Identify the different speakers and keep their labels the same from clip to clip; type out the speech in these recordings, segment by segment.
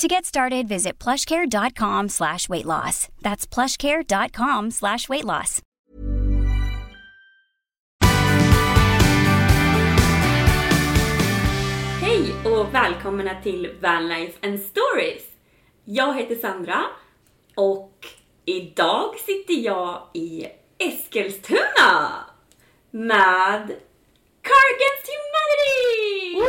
Speaker 1: To get started, visit plushcare.com slash weight loss. That's plushcare.com slash weight loss.
Speaker 2: Hej och välkomna till Vanlife and Stories! Jag heter Sandra och idag sitter jag i Eskilstuna med Car Against Humanity!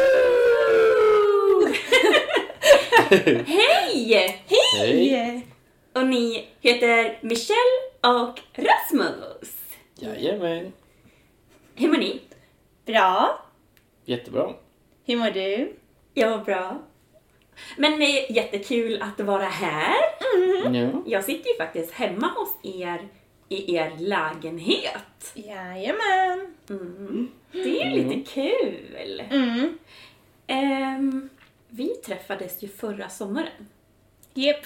Speaker 2: Hej!
Speaker 3: Hej!
Speaker 2: Och ni heter Michelle och Rasmus.
Speaker 3: Jajamän!
Speaker 2: Hur mår ni?
Speaker 4: Bra.
Speaker 3: Jättebra.
Speaker 4: Hur mår du?
Speaker 2: Jag mår bra. Men det är jättekul att vara här.
Speaker 4: Mm.
Speaker 3: Ja.
Speaker 2: Jag sitter ju faktiskt hemma hos er i er lägenhet.
Speaker 4: Jajamän.
Speaker 2: Det är ju lite kul.
Speaker 4: Mm.
Speaker 2: Ehm, vi träffades ju förra sommaren.
Speaker 4: Jep.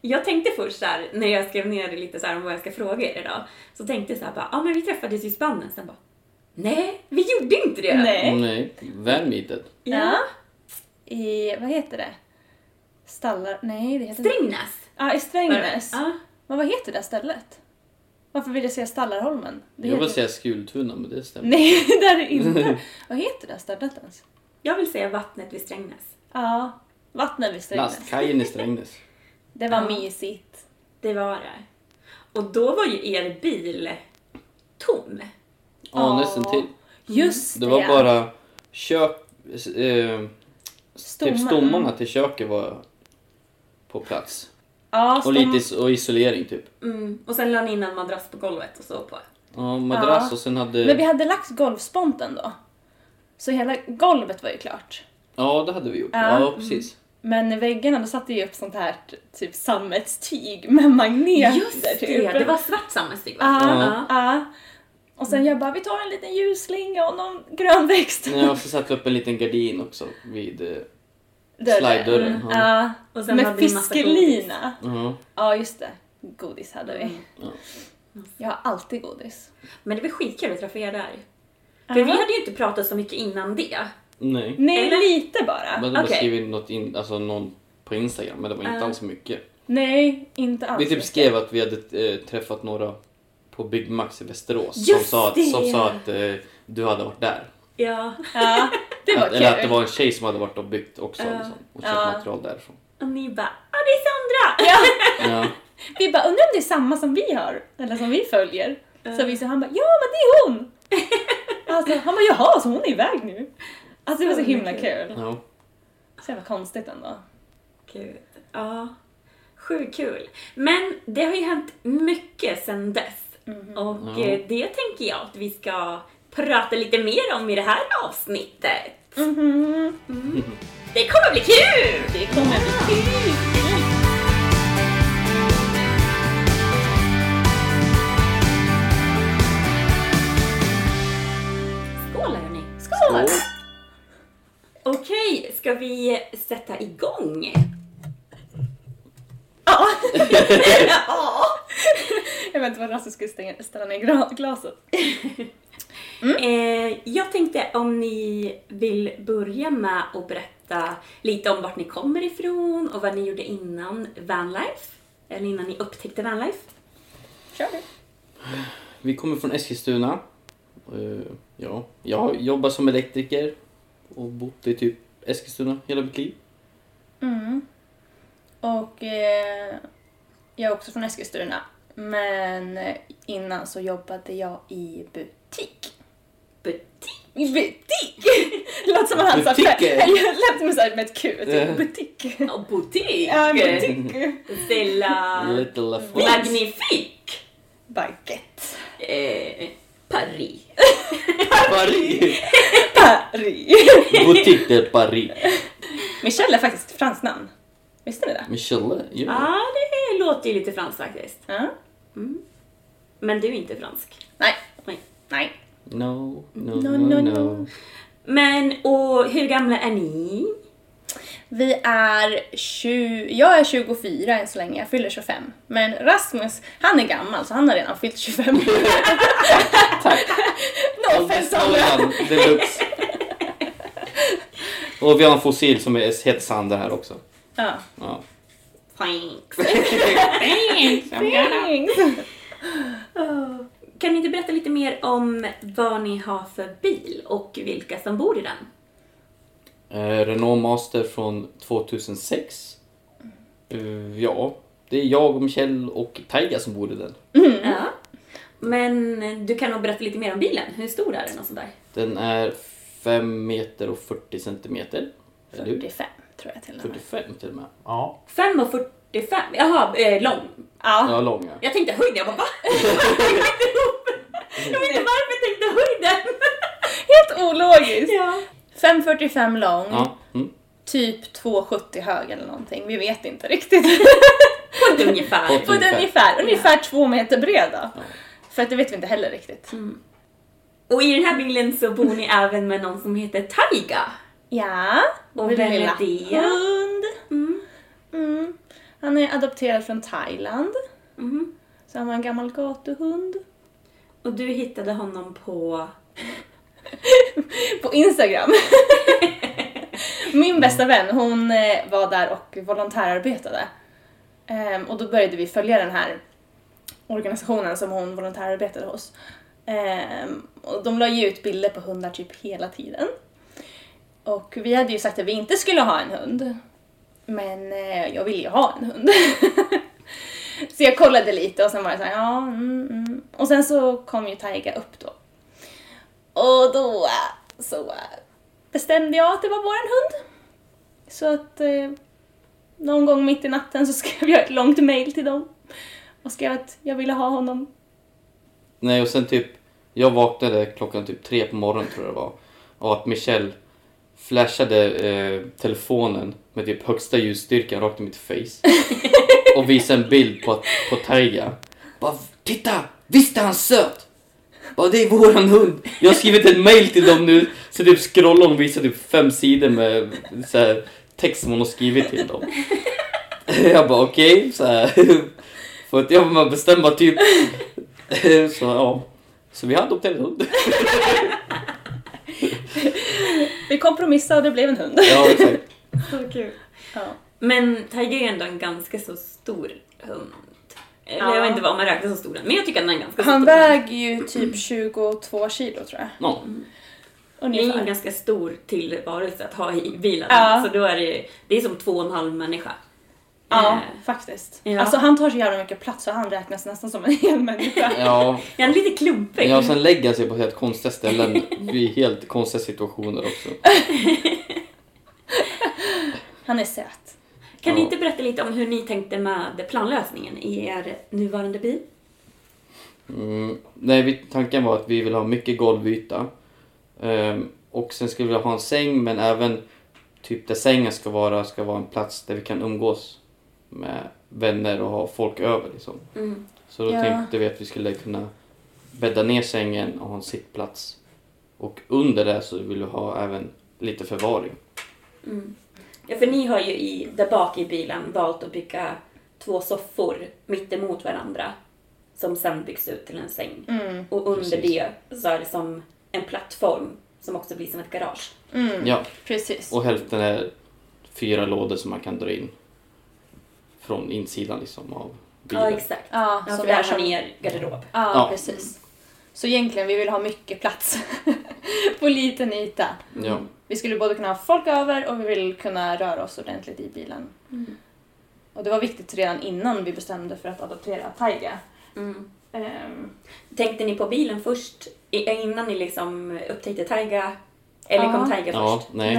Speaker 2: Jag tänkte först där när jag skrev ner lite så här om vad jag ska fråga er idag, så tänkte jag så här bara, ja ah, men vi träffades ju i Spanien, sen bara, nej, vi gjorde inte det.
Speaker 4: Nej.
Speaker 3: Nej, väl meetet.
Speaker 2: Ja.
Speaker 4: I, vad heter det? Stallar? Nej, det heter
Speaker 2: Strängnäs.
Speaker 4: Ja, i Strängnäs.
Speaker 2: Ja.
Speaker 4: Men vad heter det stället? Varför vill jag säga Stallarholmen? Det
Speaker 3: Jag vill
Speaker 4: heter-
Speaker 3: säga Skultuna, men det stämmer.
Speaker 4: Nej, det är det inte. vad heter det stället ens?
Speaker 2: Jag vill säga vattnet vid Strängnäs.
Speaker 4: Ja, vattnet vid Strängnäs.
Speaker 3: Lastkajen i Strängnäs.
Speaker 4: Det var
Speaker 2: Ja.
Speaker 4: mysigt.
Speaker 2: Det var det. Och då var ju er bil tom.
Speaker 3: Ja,
Speaker 4: Ja.
Speaker 3: nästan till.
Speaker 4: Just
Speaker 3: Det var bara kök... Eh, typ
Speaker 4: Stommen.
Speaker 3: stommarna till köket var på plats.
Speaker 4: Ja,
Speaker 3: Och
Speaker 4: stom...
Speaker 3: lite is- och isolering typ.
Speaker 2: Mm. Och sen la ni in en madrass på golvet och så på.
Speaker 3: Ja, madrass
Speaker 4: Ja.
Speaker 3: och sen
Speaker 4: Men vi
Speaker 3: hade...
Speaker 4: hade lagt golvsponten då. Så hela golvet var ju klart.
Speaker 3: Ja, det hade vi gjort.
Speaker 4: Ja.
Speaker 3: Ja, precis.
Speaker 4: Men i väggarna då satte jag upp sånt här typ sammetstyg med magneter.
Speaker 2: Just det,
Speaker 4: typ.
Speaker 2: det var svart sammetstyg va?
Speaker 4: Ja.
Speaker 2: Ja.
Speaker 4: Ja. Och sen jag bara, vi tar en liten ljusslinga och någon grön växt.
Speaker 3: Nej, och så satte vi upp en liten gardin också vid... eh,
Speaker 4: Dörren.
Speaker 3: slide-dörren,
Speaker 4: Mm,
Speaker 3: ja. Mm.
Speaker 4: Ja.
Speaker 2: Och sen
Speaker 4: Med
Speaker 2: hade vi massa
Speaker 4: fiskelina.
Speaker 3: Ja.
Speaker 4: Ja, just det. Godis hade
Speaker 2: Mm.
Speaker 4: vi.
Speaker 3: Ja.
Speaker 4: Jag har alltid godis.
Speaker 2: Men det var skitkul att träffa er där. För vi hade ju inte pratat så mycket innan det.
Speaker 3: Nej.
Speaker 4: Nej,
Speaker 2: Eller?
Speaker 4: lite bara.
Speaker 3: Men de har
Speaker 2: Okej.
Speaker 3: skrivit något in, alltså någon på Instagram, men det var inte
Speaker 2: Ja.
Speaker 3: alls mycket.
Speaker 4: Nej, inte alls.
Speaker 3: Vi typ
Speaker 4: mycket.
Speaker 3: skrev att vi hade eh, träffat några på Big Max i Västerås som
Speaker 2: Just
Speaker 3: sa,
Speaker 2: det!
Speaker 3: att, som sa att eh, du hade varit där.
Speaker 2: Ja.
Speaker 4: Ja, det var
Speaker 3: Att, eller att det
Speaker 4: kul.
Speaker 3: var en tjej som hade varit och byggt också liksom, och köpt
Speaker 4: Ja.
Speaker 3: material därifrån.
Speaker 2: Och ni bara ah det är Sandra!
Speaker 4: Ja,
Speaker 3: Ja.
Speaker 4: vi bara, undrar om det är samma som vi har, eller som vi följer. Så vi sa, han bara, ja men det är hon! Alltså, han bara, jaha, så hon är iväg nu? Alltså det var så himla kul.
Speaker 3: Ja.
Speaker 4: Så jävla konstigt ändå.
Speaker 2: Gud. eh, Ja. Sjukt kul. Men det har ju hänt mycket sedan dess. Och
Speaker 3: Ja.
Speaker 2: eh, det tänker jag att vi ska prata lite mer om i det här avsnittet. Mm. Det kommer bli kul!
Speaker 4: Det kommer bli kul!
Speaker 2: Ska vi sätta igång?
Speaker 4: Ja! jag vet inte vad Rasmus skulle stänga, ställa ner gra- glaset.
Speaker 2: Eh, jag tänkte om ni vill börja med att berätta lite om vart ni kommer ifrån och vad ni gjorde innan Vanlife. Eller innan ni upptäckte Vanlife.
Speaker 4: Kör du.
Speaker 3: Vi kommer från Eskilstuna. Eh, ja, jag jobbar som elektriker och bott i typ Eskilstuna hela mitt liv.
Speaker 4: Mm. Och eh, jag är också från Eskilstuna. Men innan så jobbade jag i butik.
Speaker 2: Butik.
Speaker 4: I butik! Det låter som att han sa
Speaker 3: Butiker.
Speaker 4: Jag lät som så här med ett Q.
Speaker 3: Ja.
Speaker 4: Typ. Butik.
Speaker 2: Ja, butik!
Speaker 4: Ja, butik.
Speaker 2: Stella...
Speaker 3: Little La France.
Speaker 2: Magnifik!
Speaker 4: Baguette.
Speaker 2: Eh, Paris.
Speaker 3: Paris!
Speaker 4: Paris.
Speaker 3: Boutique de Paris.
Speaker 4: Michelle är faktiskt ett franskt namn. Visste ni det?
Speaker 3: Michelle, ja.
Speaker 2: Ja, ah, det låter ju lite franskt faktiskt. Mm.
Speaker 4: Ja.
Speaker 2: Men du är inte fransk.
Speaker 4: Nej.
Speaker 2: Nej.
Speaker 4: Nej.
Speaker 3: No, no,
Speaker 4: No,
Speaker 3: no,
Speaker 4: no,
Speaker 3: no.
Speaker 4: no.
Speaker 2: Men, och hur gamla är ni?
Speaker 4: Vi är 20, jag är 24 än så länge, jag fyller 25. Men Rasmus, han är gammal så han har redan fyllt 25. no offense Sandra.
Speaker 3: Åldersskalan deluxe. Och vi har en fossil som är- heter Sandra här också.
Speaker 4: Ja.
Speaker 3: Ja.
Speaker 2: Thanks.
Speaker 4: Thanks.
Speaker 2: Kan ni inte berätta lite mer om vad ni har för bil och vilka som bor i den?
Speaker 3: Eh, Renault Master från 2006. Eh, ja, det är jag och Michelle och Taiga som bor i den.
Speaker 4: Mm.
Speaker 2: Ja. Men du kan nog berätta lite mer om bilen. Hur stor är den och sådär?
Speaker 3: Den är 5 meter och 40 centimeter. Eller hur?
Speaker 4: 45 tror jag till och med.
Speaker 3: 45 till och med.
Speaker 2: 5 och 45. Jaha, eh, lång.
Speaker 3: Ja, lång ja.
Speaker 2: Jag tänkte höjd, jag bara va? Jag tänkte ihop. Jag vet inte varför jag tänkte höjden.
Speaker 4: Helt ologiskt.
Speaker 2: Ja.
Speaker 4: 5,45 lång,
Speaker 3: ja. Mm.
Speaker 4: typ 2,70 hög eller någonting. Vi vet inte riktigt.
Speaker 2: På ett ungefär.
Speaker 3: På
Speaker 4: Och det
Speaker 3: Ungefär.
Speaker 4: är ungefär, ungefär två meter bred då. För att det vet vi inte heller riktigt.
Speaker 2: Och i den här bilen så bor ni även med någon som heter Taiga.
Speaker 4: Ja,
Speaker 2: Och
Speaker 4: vår
Speaker 2: vem är
Speaker 4: lilla
Speaker 2: det?
Speaker 4: hund.
Speaker 2: Mm.
Speaker 4: Mm. Han är adopterad från Thailand.
Speaker 2: Mhm.
Speaker 4: Så han var en gammal gatuhund.
Speaker 2: Och du hittade honom på...
Speaker 4: På Instagram. Min bästa vän, hon eh, var där och volontärarbetade. Ehm, och då började vi följa den här organisationen som hon volontärarbetade hos. Ehm, och de la ju ut bilder på hundar typ hela tiden. Och vi hade ju sagt att vi inte skulle ha en hund. Men eh, jag ville ju ha en hund. så jag kollade lite och sen var det så här, ja, mm, mm. Och sen så kom ju Taiga upp då. Och då eh, så eh, bestämde jag att det var våran hund. Så att eh, någon gång mitt i natten så skrev jag ett långt mail till dem och skrev att jag ville ha honom.
Speaker 3: Nej, och sen typ, jag vaknade klockan typ tre på morgonen tror jag det var. Och att Michelle flashade eh, telefonen med typ högsta ljusstyrkan rakt i mitt face. och visade en bild på, på Taiga. Bara, titta! Visst är han söt? Bara, det är våran hund! Jag har skrivit en mail till dem nu. Så typ scrollar och visar typ fem sidor med så här, text som hon har skrivit till dem. jag bara okej, så här. För att jag bara bestämma typ så ja. Så vi har adopterat en hund.
Speaker 4: Vi kompromissade och det blev en hund.
Speaker 3: Ja, exakt.
Speaker 2: Så kul.
Speaker 4: Ja.
Speaker 2: Men Tiger är ändå en ganska så stor hund. Eller
Speaker 4: Ja.
Speaker 2: jag vet inte vad man räknar som stor den, men jag tycker att den är ganska så
Speaker 4: Han
Speaker 2: stor.
Speaker 4: väger ju typ 22 kilo tror jag.
Speaker 3: Ja.
Speaker 2: Det är ju en
Speaker 4: Ungefär.
Speaker 2: ganska stor tillvarelse att ha i bilen.
Speaker 4: Mm. Ja.
Speaker 2: Så då är det, det är som två och en halv människa.
Speaker 4: Ja,
Speaker 2: Eh,
Speaker 4: faktiskt.
Speaker 2: Ja.
Speaker 4: Alltså han tar så jävla mycket plats så han räknas nästan som en hel människa.
Speaker 3: Ja.
Speaker 2: Den är lite klumpig.
Speaker 3: ja, och sen lägger han sig på helt konstiga ställen vid helt konstiga situationer också.
Speaker 4: Han är söt.
Speaker 2: Kan ni
Speaker 3: Ja.
Speaker 2: inte berätta lite om hur ni tänkte med planlösningen i er nuvarande bil?
Speaker 3: Mm. Nej, vi, tanken var att vi ville ha mycket golvyta. Ehm, och sen skulle vi ha en säng, men även typ där sängen ska vara, ska vara en plats där vi kan umgås med vänner och ha folk över liksom.
Speaker 2: Mm.
Speaker 3: Så då
Speaker 4: Ja.
Speaker 3: tänkte vi att vi skulle kunna bädda ner sängen och ha en sittplats. Och under det så vill vi ha även lite förvaring.
Speaker 2: Ja, för ni har ju i, där bak i bilen valt att bygga två soffor mitt emot varandra som sen byggs ut till en säng.
Speaker 4: Mm.
Speaker 2: Och under
Speaker 3: Precis.
Speaker 2: det så är det som en plattform som också blir som ett garage.
Speaker 3: Ja,
Speaker 4: Precis.
Speaker 3: och hälften är fyra lådor som man kan dra in från insidan liksom av bilen.
Speaker 2: Ja, exakt.
Speaker 4: Ja,
Speaker 2: Ja,
Speaker 4: som
Speaker 2: för
Speaker 4: vi
Speaker 2: där
Speaker 4: har
Speaker 2: har
Speaker 4: som...
Speaker 2: ni er garderob.
Speaker 4: Ja,
Speaker 3: Ja.
Speaker 4: precis. Så egentligen, vi vill ha mycket plats på liten yta.
Speaker 3: Ja.
Speaker 4: Vi skulle både kunna ha folk över och vi vill kunna röra oss ordentligt i bilen.
Speaker 2: Mm.
Speaker 4: Och det var viktigt redan innan vi bestämde för att adoptera Taiga. Ehm,
Speaker 2: Tänkte ni på bilen först i- innan ni liksom upptäckte Taiga? Eller
Speaker 4: Ja.
Speaker 2: kom Taiga
Speaker 3: Ja,
Speaker 2: först?
Speaker 3: nej.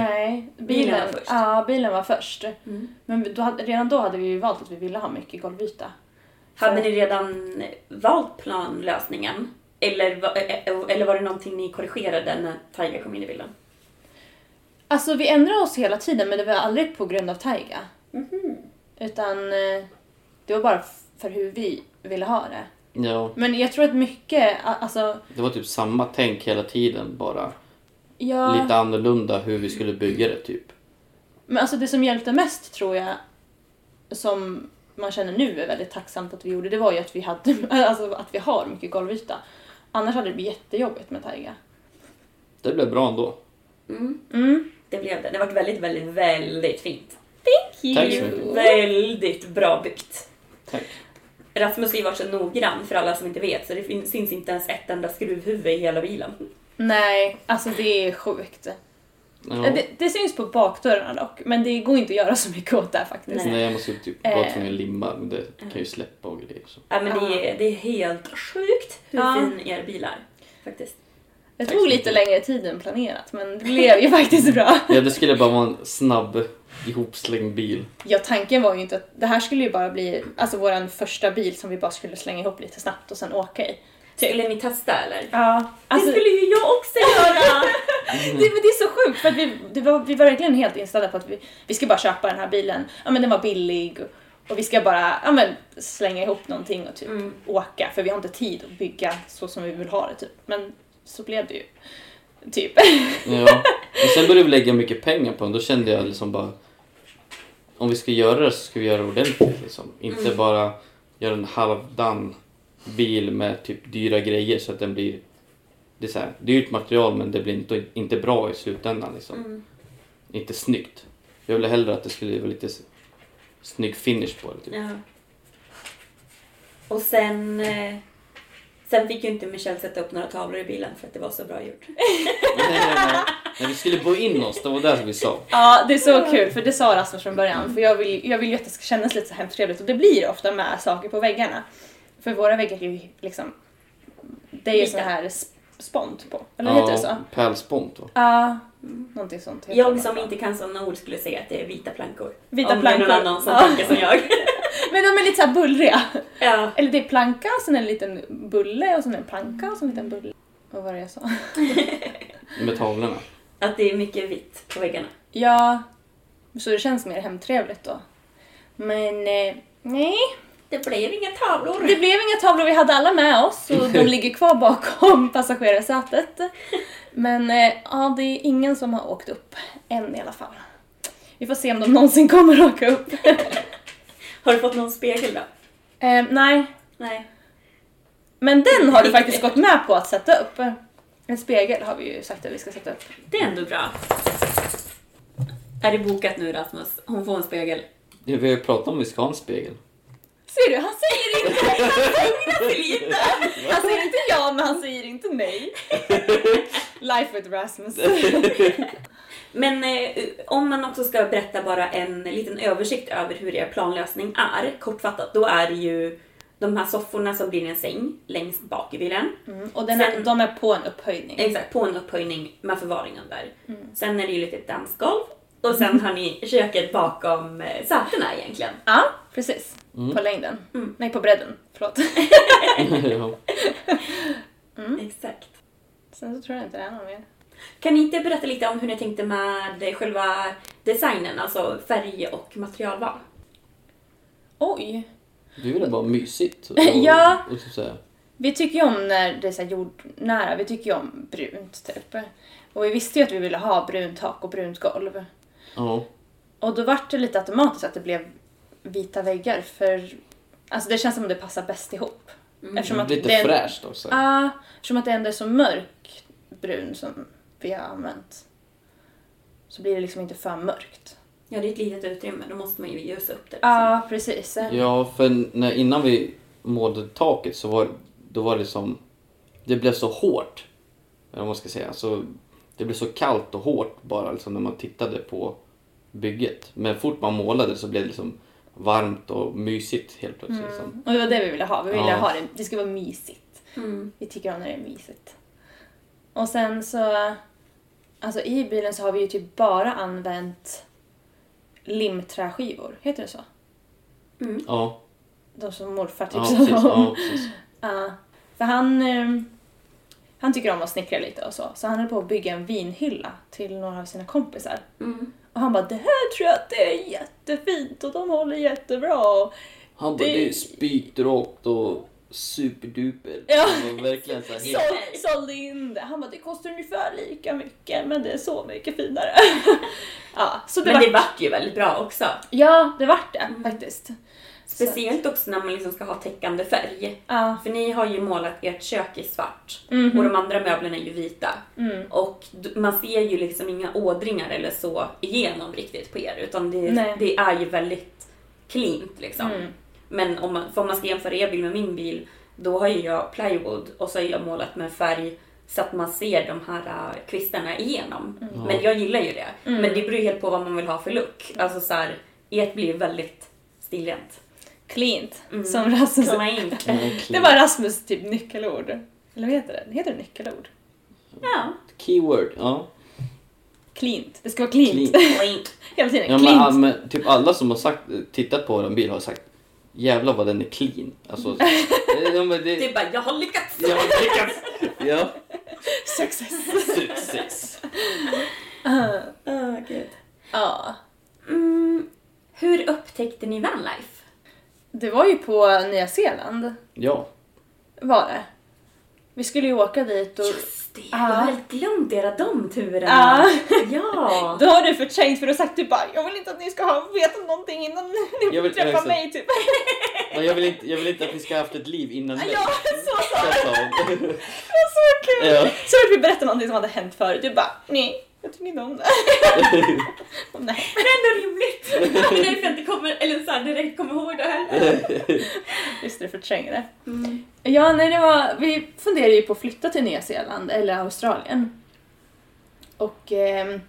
Speaker 4: bilen, Mm.
Speaker 2: Bilen var först.
Speaker 4: Ja, bilen var först. Men då, hade- redan då hade vi ju valt att vi ville ha mycket golvyta.
Speaker 2: Hade ni redan valt planlösningen? Eller, va- eh, eller var det någonting ni korrigerade när Taiga kom in i bilden?
Speaker 4: Alltså vi ändrade oss hela tiden men det var aldrig på grund av Taiga. Mhm. Utan eh, det var bara f- för hur vi ville ha det.
Speaker 3: Ja,
Speaker 4: Men jag tror att mycket, a- alltså...
Speaker 3: det var typ samma tänk hela tiden bara.
Speaker 4: Jag,
Speaker 3: Lite annorlunda hur vi skulle bygga det typ.
Speaker 4: Men alltså det som hjälpte mest tror jag, som man känner nu är väldigt tacksamt att vi gjorde, det var ju att vi, hade, alltså, att vi har mycket golvyta. Annars hade det blivit jättejobbigt med Taiga.
Speaker 3: Det blev bra ändå.
Speaker 2: Det blev det. Det var väldigt, väldigt, väldigt fint. Thank you!
Speaker 3: Tack så mycket.
Speaker 2: Väldigt bra byggt.
Speaker 3: Tack.
Speaker 2: Rasmus har ju varit så noggrann för alla som inte vet så det fin- syns inte ens ett enda skruvhuvud i hela bilen.
Speaker 4: Nej, alltså det är sjukt.
Speaker 3: Ja.
Speaker 4: Det, det syns på bakdörrarna dock, men det går inte att göra så mycket åt det här faktiskt.
Speaker 3: Nej, jag måste ju typ vara tvungen att limma, men det kan ju släppa och grejer. Så.
Speaker 2: Ja, men det, är, det är helt sjukt hur
Speaker 4: Ja.
Speaker 2: fin er bil är. Faktiskt.
Speaker 4: Det
Speaker 3: Tack
Speaker 4: tog
Speaker 3: så
Speaker 4: lite
Speaker 3: mycket.
Speaker 4: längre tid än planerat, men det blev ju faktiskt bra.
Speaker 3: Ja, det skulle bara vara en snabb ihopslängd bil.
Speaker 4: Ja, tanken var ju inte att det här skulle ju bara bli alltså vår första bil som vi bara skulle slänga ihop lite snabbt och sen åka i. Typ.
Speaker 2: Skulle ni testa eller?
Speaker 4: Ja, alltså,
Speaker 2: det skulle ju jag också göra!
Speaker 4: det,
Speaker 2: Mm.
Speaker 4: men det är så sjukt för att vi, det var, vi var verkligen helt inställda på att vi, vi ska bara köpa den här bilen. Ja, men den var billig och, och vi ska bara ja, men, slänga ihop någonting och typ
Speaker 2: Mm.
Speaker 4: åka för vi har inte tid att bygga så som vi vill ha det typ. Men så blev det ju. Typ.
Speaker 3: Ja. Och sen började vi lägga mycket pengar på den. Då kände jag liksom bara... Om vi ska göra det så ska vi göra det ordentligt. Liksom. Inte bara göra en halvdan bil med typ dyra grejer så att den blir... Det är så här, dyrt material men det blir inte, inte bra i slutändan. Liksom. Inte snyggt. Jag ville hellre att det skulle vara lite s- snygg finish på det. Typ.
Speaker 2: Ja. Och sen... eh, Sen fick ju inte Michelle sätta upp några tavlor i bilen för att det var så bra gjort.
Speaker 3: Nej, nej, nej. Nej, vi skulle bo in oss, det var det som vi sa.
Speaker 4: Ja, det är så kul för det sa Rasmus från början för jag vill, jag vill ju att det ska kännas lite så hemskt trevligt och det blir det ofta med saker på väggarna. För våra väggar är ju liksom, det är ju
Speaker 2: Vita.
Speaker 4: sån här sp- spont på, eller heter det så?
Speaker 3: Pärlspont va?
Speaker 4: Ja, någonting sånt. heter det
Speaker 2: Jag
Speaker 4: bara.
Speaker 2: som inte kan sådana ord skulle säga att det är vita plankor.
Speaker 4: Vita
Speaker 2: Om det är någon
Speaker 4: plankor.
Speaker 2: annan som
Speaker 4: Ja.
Speaker 2: tänker som jag.
Speaker 4: Men de är lite såhär bullriga.
Speaker 2: ja.
Speaker 4: Eller det är planka, och sen en liten bulle och sen en planka och sen en liten bulle. Vad var det jag sa?
Speaker 3: Med tavlorna.
Speaker 2: Att det är mycket vitt på väggarna.
Speaker 4: Ja, så det känns mer hemtrevligt då. Men eh, nej,
Speaker 2: Det blev inga tavlor.
Speaker 4: det blev inga tavlor. Vi hade alla med oss och de ligger kvar bakom passagerarsätet. Men eh, ja, det är ingen som har åkt upp än i alla fall. Vi får se om de någonsin kommer att åka upp.
Speaker 2: Har du fått någon spegel då?
Speaker 4: eh, nej,
Speaker 2: Nej.
Speaker 4: men den har du faktiskt gått med på att sätta upp. En spegel har vi ju sagt att vi ska sätta upp.
Speaker 2: Det är ändå bra. Är det bokat nu Rasmus? Hon får en spegel.
Speaker 3: Ja, Vi har ju pratat om att vi ska ha en spegel.
Speaker 4: Ser du, han säger inte,
Speaker 2: Jag vill inte.
Speaker 4: han säger inte ja men han säger inte nej. Life with Rasmus.
Speaker 2: Men eh, om man också ska berätta bara en liten översikt över hur er planlösning är, kortfattat, då är det ju de här sofforna som blir en säng längst bak i bilen. Eh,
Speaker 4: Och den är, de är på en upphöjning.
Speaker 2: Exakt, på en upphöjning med förvaringen där. Sen är det ju lite dansgolv och sen har ni köket bakom eh, sätena egentligen.
Speaker 4: Ja, precis. På längden. Nej, på bredden. Förlåt.
Speaker 3: ja.
Speaker 2: Exakt.
Speaker 4: Sen så tror jag inte det är någon mer.
Speaker 2: Kan ni inte berätta lite om hur ni tänkte med eh, själva designen, alltså färg och materialval?
Speaker 4: Oj.
Speaker 3: Du ville bara mysigt. Och,
Speaker 4: Ja.
Speaker 3: Och typ så här.
Speaker 4: Vi tycker ju om när det är så här jordnära, vi tycker ju om brunt typ. Och vi visste ju att vi ville ha brunt tak och brunt golv.
Speaker 3: Ja.
Speaker 4: Och då vart det lite automatiskt att det blev vita väggar för alltså det känns som att det passar bäst ihop. Eftersom att
Speaker 3: Lite
Speaker 4: det är-
Speaker 3: fräscht också.
Speaker 4: Ja, eftersom att det ändå är så mörk brun som vi har använt så blir det liksom inte för mörkt.
Speaker 2: Ja, det är ett litet utrymme. Då måste man ju ljusa upp det. liksom.
Speaker 4: Ja, precis.
Speaker 3: Ja, för när, innan vi målade taket så var, då var det som... Det blev så hårt. Eller vad man ska säga. Så, det blev så kallt och hårt bara liksom, när man tittade på bygget. Men fort man målade så blev det liksom varmt och mysigt helt plötsligt.
Speaker 4: Mm.
Speaker 3: Liksom.
Speaker 4: Och det var det vi ville ha. Vi ville
Speaker 3: Ja.
Speaker 4: ha det. Det ska vara mysigt.
Speaker 2: Mm.
Speaker 4: Vi tycker om när det är mysigt. Och sen så... Alltså i bilen så har vi ju typ bara använt limträskivor. Heter det så?
Speaker 3: Ja,
Speaker 4: De som morfar
Speaker 3: ja,
Speaker 4: tipsade
Speaker 3: precis,
Speaker 4: om.
Speaker 3: ja, precis.
Speaker 4: Ja. För han, eh, han tycker om att snickra lite och så. Så han höll på att bygga en vinhylla till några av sina kompisar.
Speaker 2: Mm.
Speaker 4: Och han bara, det här tror jag att det är jättefint och de håller jättebra.
Speaker 3: Han bara, det är
Speaker 4: Det-
Speaker 3: spikrakt och superduper.
Speaker 4: Ja.
Speaker 3: Han var verkligen så här helt...
Speaker 4: Såld, sålde in det. Han bara, det kostar ungefär lika mycket men det är så mycket finare. ja, så det
Speaker 2: Men det Mm.
Speaker 4: var...
Speaker 2: vart ju väldigt bra också.
Speaker 4: Ja, det vart det faktiskt.
Speaker 2: Speciellt också när man liksom ska ha täckande färg.
Speaker 4: Ja, Mhm.
Speaker 2: För ni har ju målat ert kök i svart och de andra möblerna är ju vita.
Speaker 4: Mm.
Speaker 2: Och d- man ser ju liksom inga ådringar eller så igenom riktigt på er utan det,
Speaker 4: Nej. Mm.
Speaker 2: det är ju väldigt cleant liksom. Men om man, för om man ska jämföra er bil med min bil då har ju jag plywood och så har jag målat med färg så att man ser de här äh, kvistarna igenom.
Speaker 4: Mm.
Speaker 2: Men jag gillar ju det. Men det beror ju helt på vad man vill ha för look. Alltså så här, ert blir ju väldigt stilrent.
Speaker 4: cleant.
Speaker 2: Mm.
Speaker 4: Som Rasmus...
Speaker 2: Clean.
Speaker 4: Det var Rasmus typ nyckelord. Eller vad heter det? Heter det nyckelord?
Speaker 2: Ja.
Speaker 3: Keyword, ja.
Speaker 4: Cleant. Det ska vara cleant.
Speaker 2: Clean.
Speaker 4: Hela tiden.
Speaker 3: Ja,
Speaker 4: cleant.
Speaker 3: men, men, typ alla som har sagt, tittat på en bil har sagt jävlar vad den är clean. Alltså, ja, men det,
Speaker 2: Du bara, jag har lyckats!
Speaker 3: jag har lyckats. Ja,
Speaker 4: Success.
Speaker 3: success.
Speaker 2: Åh, gud.
Speaker 4: ja.
Speaker 2: Mm, hur upptäckte ni vanlife?
Speaker 4: Det var ju på Nya Zeeland.
Speaker 3: Ja,
Speaker 4: Var det. Vi skulle ju åka dit och...
Speaker 2: Just det, jag
Speaker 4: Ja.
Speaker 2: har helt glömt era de turerna.
Speaker 4: Ja.
Speaker 2: Ja.
Speaker 4: Då har du förträngt för du har sagt typ bara jag vill inte att ni ska ha vetat någonting innan ni
Speaker 3: Jag vill-
Speaker 4: träffar
Speaker 3: jag vill-
Speaker 4: mig typ.
Speaker 3: men jag vill, inte, jag vill inte att ni ska ha haft ett liv innan mig.
Speaker 4: Ja, så sa
Speaker 3: Det
Speaker 4: du.
Speaker 3: sa hon.
Speaker 4: Det var så kul!
Speaker 3: Ja.
Speaker 4: Så fort vi berättade någonting som hade hänt förut, du bara nej, jag tycker inte om det. Och nej.
Speaker 2: Det är ändå rimligt. Det är därför jag inte kommer, eller så här, direkt kommer ihåg det heller.
Speaker 4: Just det, du förtränger det.
Speaker 2: Mm.
Speaker 4: Ja, nej, det var, vi funderade ju på att flytta till Nya Zeeland eller Australien. Och ehm,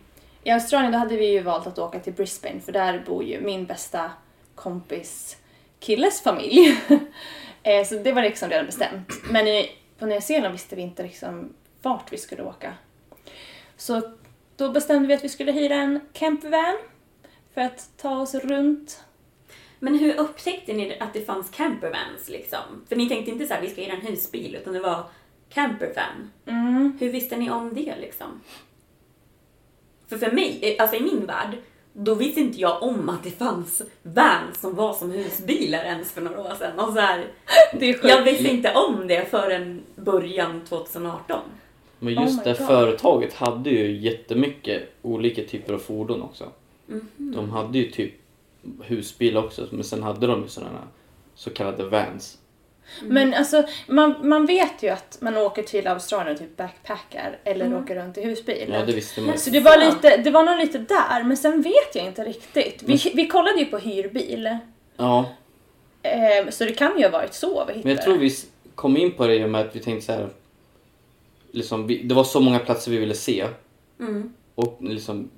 Speaker 4: i Australien då hade vi ju valt att åka till Brisbane för där bor ju min bästa kompis killes familj. eh, så det var liksom redan bestämt. Men i, på Nya Zeeland visste vi inte liksom vart vi skulle åka. Så då bestämde vi att vi skulle hyra en campervan för att ta oss runt
Speaker 2: Men hur upptäckte ni att det fanns campervans liksom? För ni tänkte inte så här, vi ska göra en husbil, utan det var campervan.
Speaker 4: Mm.
Speaker 2: Hur visste ni om det liksom? För för mig, eh, alltså i min värld, då visste inte jag om att det fanns vans som var som husbilar ens för några år sedan. Och så här,
Speaker 4: Det är sjukt.
Speaker 2: jag visste inte om det förrän början 2018.
Speaker 3: Men just
Speaker 4: Oh my
Speaker 3: det
Speaker 4: God.
Speaker 3: företaget hade ju jättemycket olika typer av fordon också.
Speaker 4: Mhm.
Speaker 3: De hade ju typ husbil också, men sen hade de ju sådana här så kallade vans.
Speaker 4: Men alltså, man, man vet ju att man åker till Australien och typ backpackar eller åker runt i husbil.
Speaker 3: Ja, det visste man ju.
Speaker 4: Så Alltså, det var, lite, det var nog lite där, men sen vet jag inte riktigt. Vi,
Speaker 3: Mm.
Speaker 4: vi kollade ju på hyrbil,
Speaker 3: Ja,
Speaker 4: eh, så det kan ju ha varit så vi hittade.
Speaker 3: Men jag tror vi s- kom in på det i och med att vi tänkte så här. Liksom, vi, det var så många platser vi ville se.
Speaker 4: Mm.
Speaker 3: Och liksom,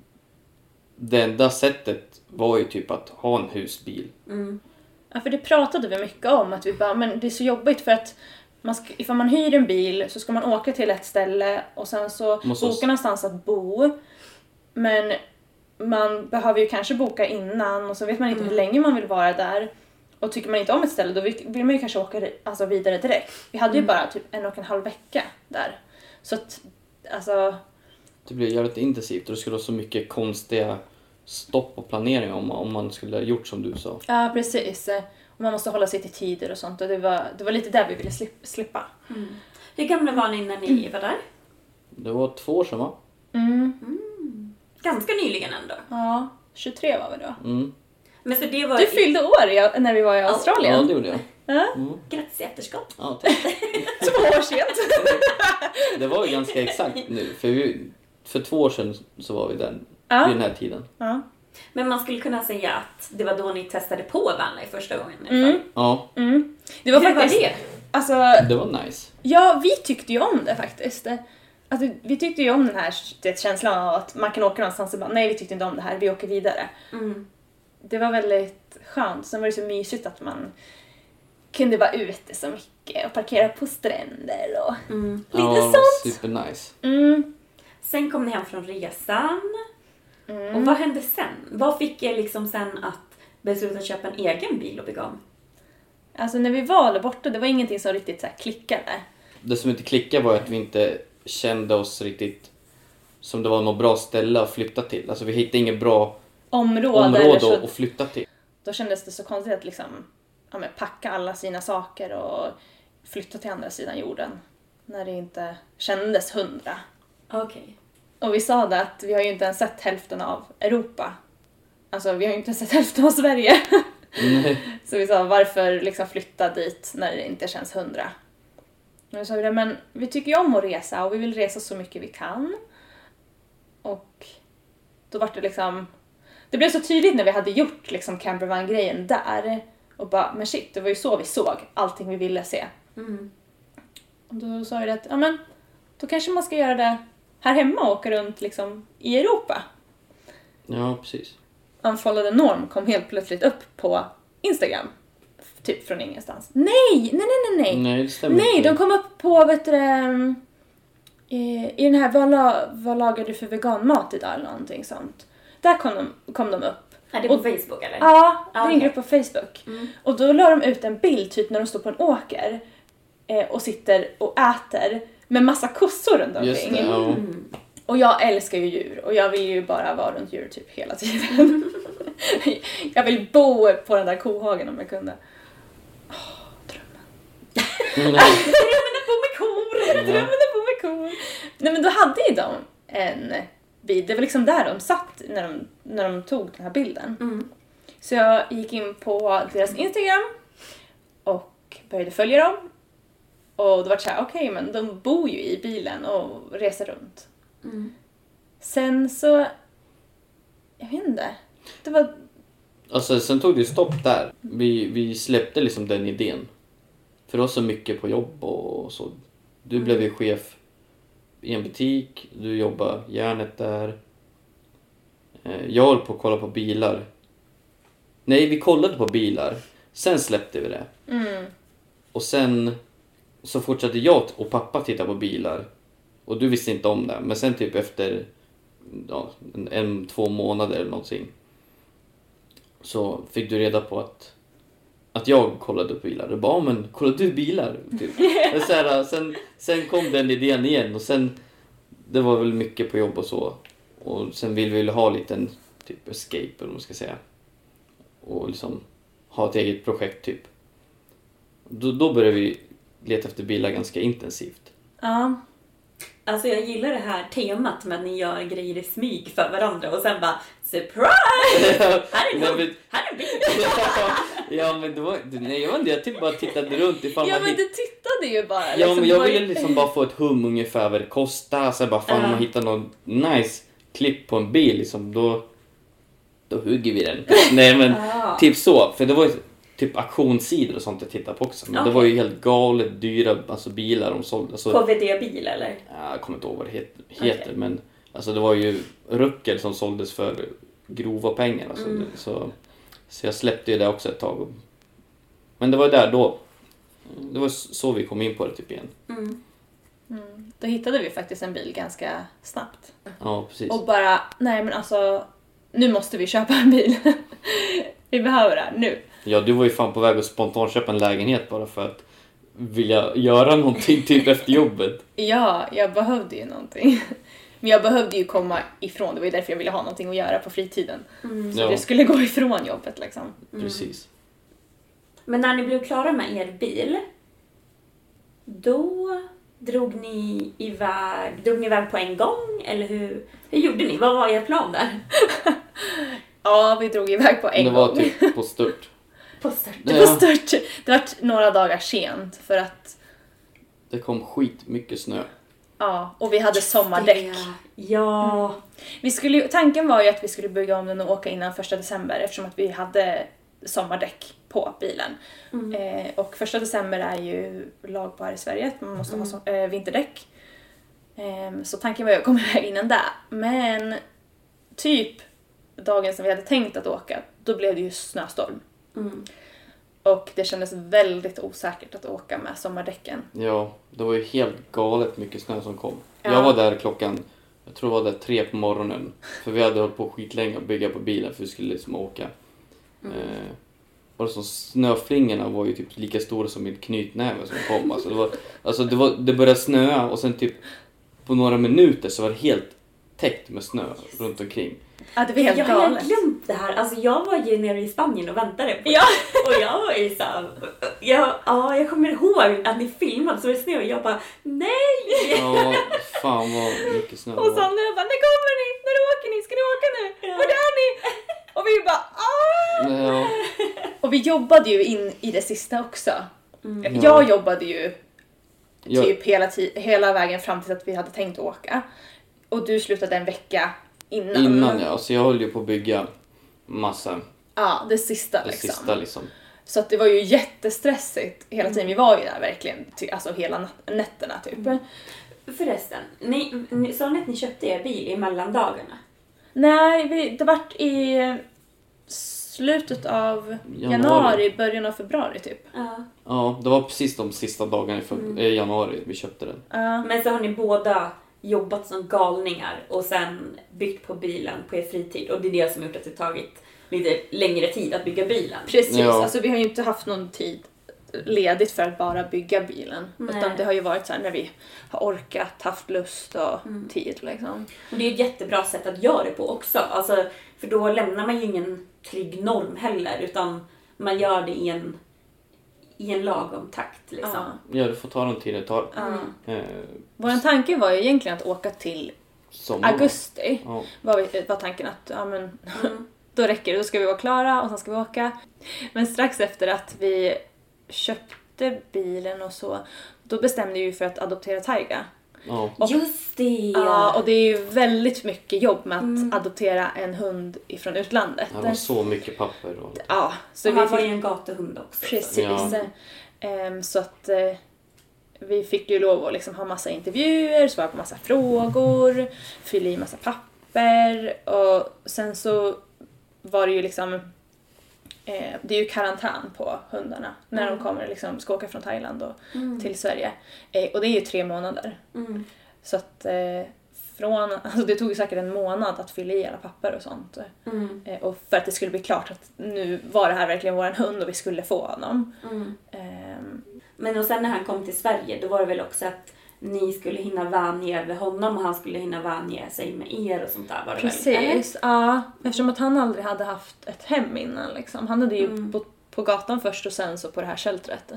Speaker 3: det enda sättet var ju typ att ha en husbil.
Speaker 4: Ja, för det pratade vi mycket om, att vi bara, men det är så jobbigt för att man ska, ifall man hyr en bil så ska man åka till ett ställe och sen så
Speaker 3: Måste-
Speaker 4: boka någonstans att bo. Men man behöver ju kanske boka innan och så vet man inte hur länge man vill vara där. Och tycker man inte om ett ställe då vill vill man ju kanske åka alltså, vidare direkt. Vi hade ju bara typ en och en halv vecka där. Så att, alltså,
Speaker 3: Det blev jävligt intensivt och det skulle vara så mycket konstiga stopp och planering om, om man skulle ha gjort som du sa.
Speaker 4: ja precis. Och man måste hålla sig till tider och sånt och det var, det var lite där vi ville slip, slippa. Mm.
Speaker 2: Hur gamla var ni när ni var där?
Speaker 3: Det var två år sedan va?
Speaker 2: Ganska nyligen ändå.
Speaker 4: Ja, 23 var vi då.
Speaker 3: Mm.
Speaker 2: Men så det var...
Speaker 4: Du fyllde år i, när vi var i Australien.
Speaker 3: Ja, det gjorde jag.
Speaker 2: Grattis i efterskott.
Speaker 3: Ja, tack.
Speaker 4: Två år sent.
Speaker 3: det var ju ganska exakt nu. För, vi, för två år sedan så var vi den,
Speaker 4: Ja.
Speaker 3: vid den här tiden.
Speaker 4: ja.
Speaker 2: Men man skulle kunna säga att det var då ni testade på Vanlife första gången.
Speaker 3: Ja,
Speaker 4: Mm. Det var
Speaker 2: Hur var
Speaker 4: faktiskt...
Speaker 2: det?
Speaker 4: Alltså,
Speaker 3: det var nice.
Speaker 4: Ja, vi tyckte ju om det faktiskt. Alltså, vi tyckte ju om den här du vet, känslan av att man kan åka någonstans och bara nej vi tyckte inte om det här, vi åker vidare.
Speaker 2: Mm.
Speaker 4: Det var väldigt skönt. Sen var det så mysigt att man kunde vara ute så mycket och parkera på stränder och lite
Speaker 3: ja, det var
Speaker 4: sånt.
Speaker 3: supernice.
Speaker 4: Mm.
Speaker 2: Sen kom ni hem från resan.
Speaker 4: Mm.
Speaker 2: Och vad hände sen? Vad fick er liksom sen att besluta att köpa en egen bil och bygga om?
Speaker 4: Alltså när vi var där borta, det var ingenting som riktigt så här klickade.
Speaker 3: Det som inte klickade var att vi inte kände oss riktigt som det var något bra ställe att flytta till. Alltså vi hittade inget bra
Speaker 4: Område, eller så.
Speaker 3: område att flytta till.
Speaker 4: Då kändes det så konstigt att liksom, ja, men packa alla sina saker och flytta till andra sidan jorden. När det inte kändes hundra.
Speaker 2: Okej.
Speaker 4: Och vi sa det att vi har ju inte ens sett hälften av Europa. Alltså vi har ju inte ens sett hälften av Sverige. Så vi sa varför liksom flytta dit när det inte känns hundra? Men då sa vi det, men vi tycker ju om att resa och vi vill resa så mycket vi kan. Och då var det liksom, det blev så tydligt när vi hade gjort liksom campervan-grejen där och bara, men shit, det var ju så vi såg allting vi ville se. Och då sa vi det att, ja men, då kanske man ska göra det här hemma och åka runt liksom i Europa.
Speaker 3: Ja, precis.
Speaker 4: Unfollow the norm kom helt plötsligt upp på Instagram. Typ från ingenstans. Nej, nej, nej, nej, nej.
Speaker 3: Nej, det stämmer
Speaker 4: Nej,
Speaker 3: inte.
Speaker 4: de kom upp på, vet du det, ehm, i, i den här vad, la, vad lagar du för veganmat idag eller någonting sånt. Där kom de, kom de upp.
Speaker 2: Är det på
Speaker 4: Och-
Speaker 2: Facebook eller?
Speaker 4: Ja, det är en
Speaker 2: Okej. Mm.
Speaker 4: grupp på Facebook. Och då la de ut en bild typ när de står på en åker eh, och sitter och äter med massa kossor runt omkring.
Speaker 3: Just det, ja.
Speaker 4: Och jag älskar ju djur och jag vill ju bara vara runt djur typ hela tiden. jag vill bo på den där kohagen om jag kunde. Åh, drömmen.
Speaker 2: Drömmen är på med kor!
Speaker 4: Drömmen är på mig cool. Nej men då hade ju de en bil, det var liksom där de satt när de, när de tog den här bilden. Så jag gick in på deras Instagram och började följa dem. Och då var det såhär, okej men de bor ju i bilen och reser runt. Sen så, jag vet inte. Det var,
Speaker 3: Alltså, sen tog det ju stopp där. Vi, vi släppte liksom den idén. För det var så mycket på jobb och så. Du blev ju chef i en butik, du jobbade järnet där. Eh, Jag höll på att kolla på bilar. Nej, vi kollade på bilar. Sen släppte vi det. Och sen så fortsatte jag och pappa titta på bilar. Och du visste inte om det. Men sen typ efter ja, en, en, två månader eller någonting så fick du reda på att, att jag kollade upp bilar. Du bara, "Ah, men kollar du bilar? Typ. Men så här, sen, sen kom den idén igen och sen, det var väl mycket på jobb och så. Och sen ville vi ha lite en typ escape eller vad man ska säga. Och liksom ha ett eget projekt typ. Då, då började vi leta efter bilar ganska intensivt.
Speaker 4: ja.
Speaker 2: Alltså jag gillar det här temat med att ni gör grejer i smyg för varandra och sen bara surprise! Här är en
Speaker 3: Nej,
Speaker 2: hund,
Speaker 3: men-
Speaker 2: här är en bil!
Speaker 3: ja men det var, nej jag vet inte, jag typ bara tittade runt ifall
Speaker 4: ja
Speaker 3: man
Speaker 4: men
Speaker 3: hitt-
Speaker 4: du tittade ju bara.
Speaker 3: Ja,
Speaker 4: liksom,
Speaker 3: men
Speaker 4: det
Speaker 3: jag
Speaker 4: var ju-
Speaker 3: ville liksom bara få ett hum ungefär vad det kostar. Så jag bara, fan om man hittar någon nice klipp på en bil, liksom, då, då hugger vi den. Nej, men typ så. För det var ju typ auktionssidor och sånt jag tittade på också. Men det var ju helt galet dyra alltså, bilar de sålde. Alltså,
Speaker 2: KVD-bil eller?
Speaker 3: ja, jag kommer inte ihåg vad det het- heter, men alltså, det var ju ruckel som såldes för grova pengar. Alltså,
Speaker 4: Mm.
Speaker 3: det- så, så jag släppte ju det också ett tag. Men det var ju där då. Det var så vi kom in på det typ igen.
Speaker 4: Då hittade vi faktiskt en bil ganska snabbt.
Speaker 3: Ja, precis.
Speaker 4: Och bara, nej men alltså, nu måste vi köpa en bil. vi behöver det här nu.
Speaker 3: Ja, du var ju fan på väg att spontanköpa en lägenhet bara för att vilja göra någonting typ efter jobbet.
Speaker 4: Ja, jag behövde ju någonting. Men jag behövde ju komma ifrån, det var ju därför jag ville ha någonting att göra på fritiden. Mm, Så
Speaker 3: Ja.
Speaker 4: att jag skulle gå ifrån jobbet liksom.
Speaker 3: Precis.
Speaker 2: Men när ni blev klara med er bil, då Drog ni iväg, drog ni iväg på en gång eller hur, hur gjorde ni? Vad var er plan där?
Speaker 4: Ja, vi drog iväg på en
Speaker 3: Det
Speaker 4: gång.
Speaker 3: var typ på stört.
Speaker 2: På stört.
Speaker 4: det var stört. Det var några dagar sent för att,
Speaker 3: Det kom skit mycket snö.
Speaker 4: ja, och vi hade sommardäck.
Speaker 2: Ja.
Speaker 4: Vi skulle, ju- tanken var ju att vi skulle bygga om den och åka innan första december eftersom att vi hade sommardäck på bilen. Eh, och första december är ju lag på här i Sverige att man måste ha som, eh, vinterdäck. Ehm, så tanken var ju att komma iväg innan det. Men typ dagen som vi hade tänkt att åka, då blev det ju snöstorm. Mm. Och det kändes väldigt osäkert att åka med sommardäcken.
Speaker 3: Ja, det var ju helt galet mycket snö som kom.
Speaker 4: Ja.
Speaker 3: Jag var där klockan, jag tror jag var där tre på morgonen. För vi hade hållit på skitlänge att bygga på bilen för vi skulle liksom åka.
Speaker 4: Mm.
Speaker 3: Eh, och så snöflingorna var ju typ lika stora som min knytnäve som kom. Alltså det, var, alltså det, var, det började snöa och sen typ på några minuter så var det helt täckt med snö runt omkring.
Speaker 4: Ja, det var helt
Speaker 2: jag har
Speaker 4: galet.
Speaker 2: helt glömt det här. Alltså jag var ju nere i Spanien och väntade på
Speaker 4: Ja.
Speaker 2: Och jag var ju såhär... Jag, ja, jag kommer ihåg att ni filmade så var det snö och jag bara NEJ!
Speaker 3: Ja, fan vad mycket snö det
Speaker 4: Och
Speaker 3: var.
Speaker 4: Sandra bara, när kommer ni? När åker ni? Ska ni åka nu?
Speaker 2: Ja.
Speaker 4: Vart är ni? Och vi bara, "Ah!"
Speaker 3: Ja,
Speaker 4: Och vi jobbade ju in i det sista också. Jag jobbade ju
Speaker 3: jag,
Speaker 4: typ hela, ti- hela vägen fram till att vi hade tänkt åka. Och du slutade en vecka innan.
Speaker 3: innan jag, alltså jag höll ju på att bygga massa,
Speaker 4: Ja, det sista
Speaker 3: det
Speaker 4: liksom.
Speaker 3: sista liksom.
Speaker 4: Så att det var ju jättestressigt hela tiden. Vi var ju där verkligen, ty- alltså hela nat- nätterna typ.
Speaker 2: Förresten, ni, ni, sa ni att ni köpte er bil i mellandagarna?
Speaker 4: Nej, vi, det vart i slutet av
Speaker 3: Januari.
Speaker 4: januari början av februari typ.
Speaker 2: Ja.
Speaker 3: Ja, det var precis de sista dagarna i feb- eh, januari vi köpte den.
Speaker 2: Men så har ni båda jobbat som galningar och sen byggt på bilen på er fritid och det är det som gjort att det tagit lite längre tid att bygga bilen.
Speaker 4: Precis,
Speaker 3: Ja.
Speaker 4: alltså vi har ju inte haft någon tid ledigt för att bara bygga bilen.
Speaker 2: Nej.
Speaker 4: Utan det har ju varit så här när vi har orkat, haft lust och tid liksom.
Speaker 2: Och det är ett jättebra sätt att göra det på också. Alltså, för då lämnar man ju ingen trygg norm heller utan man gör det i en, i en lagom takt. Liksom.
Speaker 3: Ja, du får ta den tid det tar. Eh,
Speaker 4: Vår tanke var ju egentligen att åka till
Speaker 3: sommaren.
Speaker 4: augusti.
Speaker 3: Mm. Ja.
Speaker 4: Var, vi, var tanken att ja, men, då räcker det, då ska vi vara klara och sen ska vi åka. Men strax efter att vi köpte bilen och så, då bestämde vi ju för att adoptera Taiga.
Speaker 3: Ja.
Speaker 2: Just det!
Speaker 4: Ja, Mm. och det är ju väldigt mycket jobb med att adoptera en hund ifrån utlandet.
Speaker 3: Det var så mycket papper. Och...
Speaker 4: Ja, så
Speaker 2: och han
Speaker 4: vi
Speaker 2: var ju
Speaker 4: fick,
Speaker 2: en gatuhund också.
Speaker 4: precis.
Speaker 3: Ja.
Speaker 4: Ehm, så att eh, vi fick ju lov att liksom ha massa intervjuer, svara på massa frågor, fylla i massa papper och sen så var det ju liksom eh, det är ju karantän på hundarna när
Speaker 2: Mm.
Speaker 4: de kommer liksom ska åka från Thailand och till Sverige. Eh, och det är ju tre månader.
Speaker 2: Mm.
Speaker 4: Så att eh, från, alltså det tog ju säkert en månad att fylla i alla papper och sånt.
Speaker 2: Mm.
Speaker 4: Eh, och för att det skulle bli klart att nu var det här verkligen vår hund och vi skulle få honom.
Speaker 2: Mm.
Speaker 4: Ehm,
Speaker 2: Men och sen när han kom till Sverige då var det väl också att ni skulle hinna vänja er vid honom och han skulle hinna vänja sig med er och sånt där var det väl? eller?
Speaker 4: Precis, ja. Eftersom att han aldrig hade haft ett hem innan. Liksom. Han hade ju
Speaker 2: Mm.
Speaker 4: bott på gatan först och sen så på det här sheltret.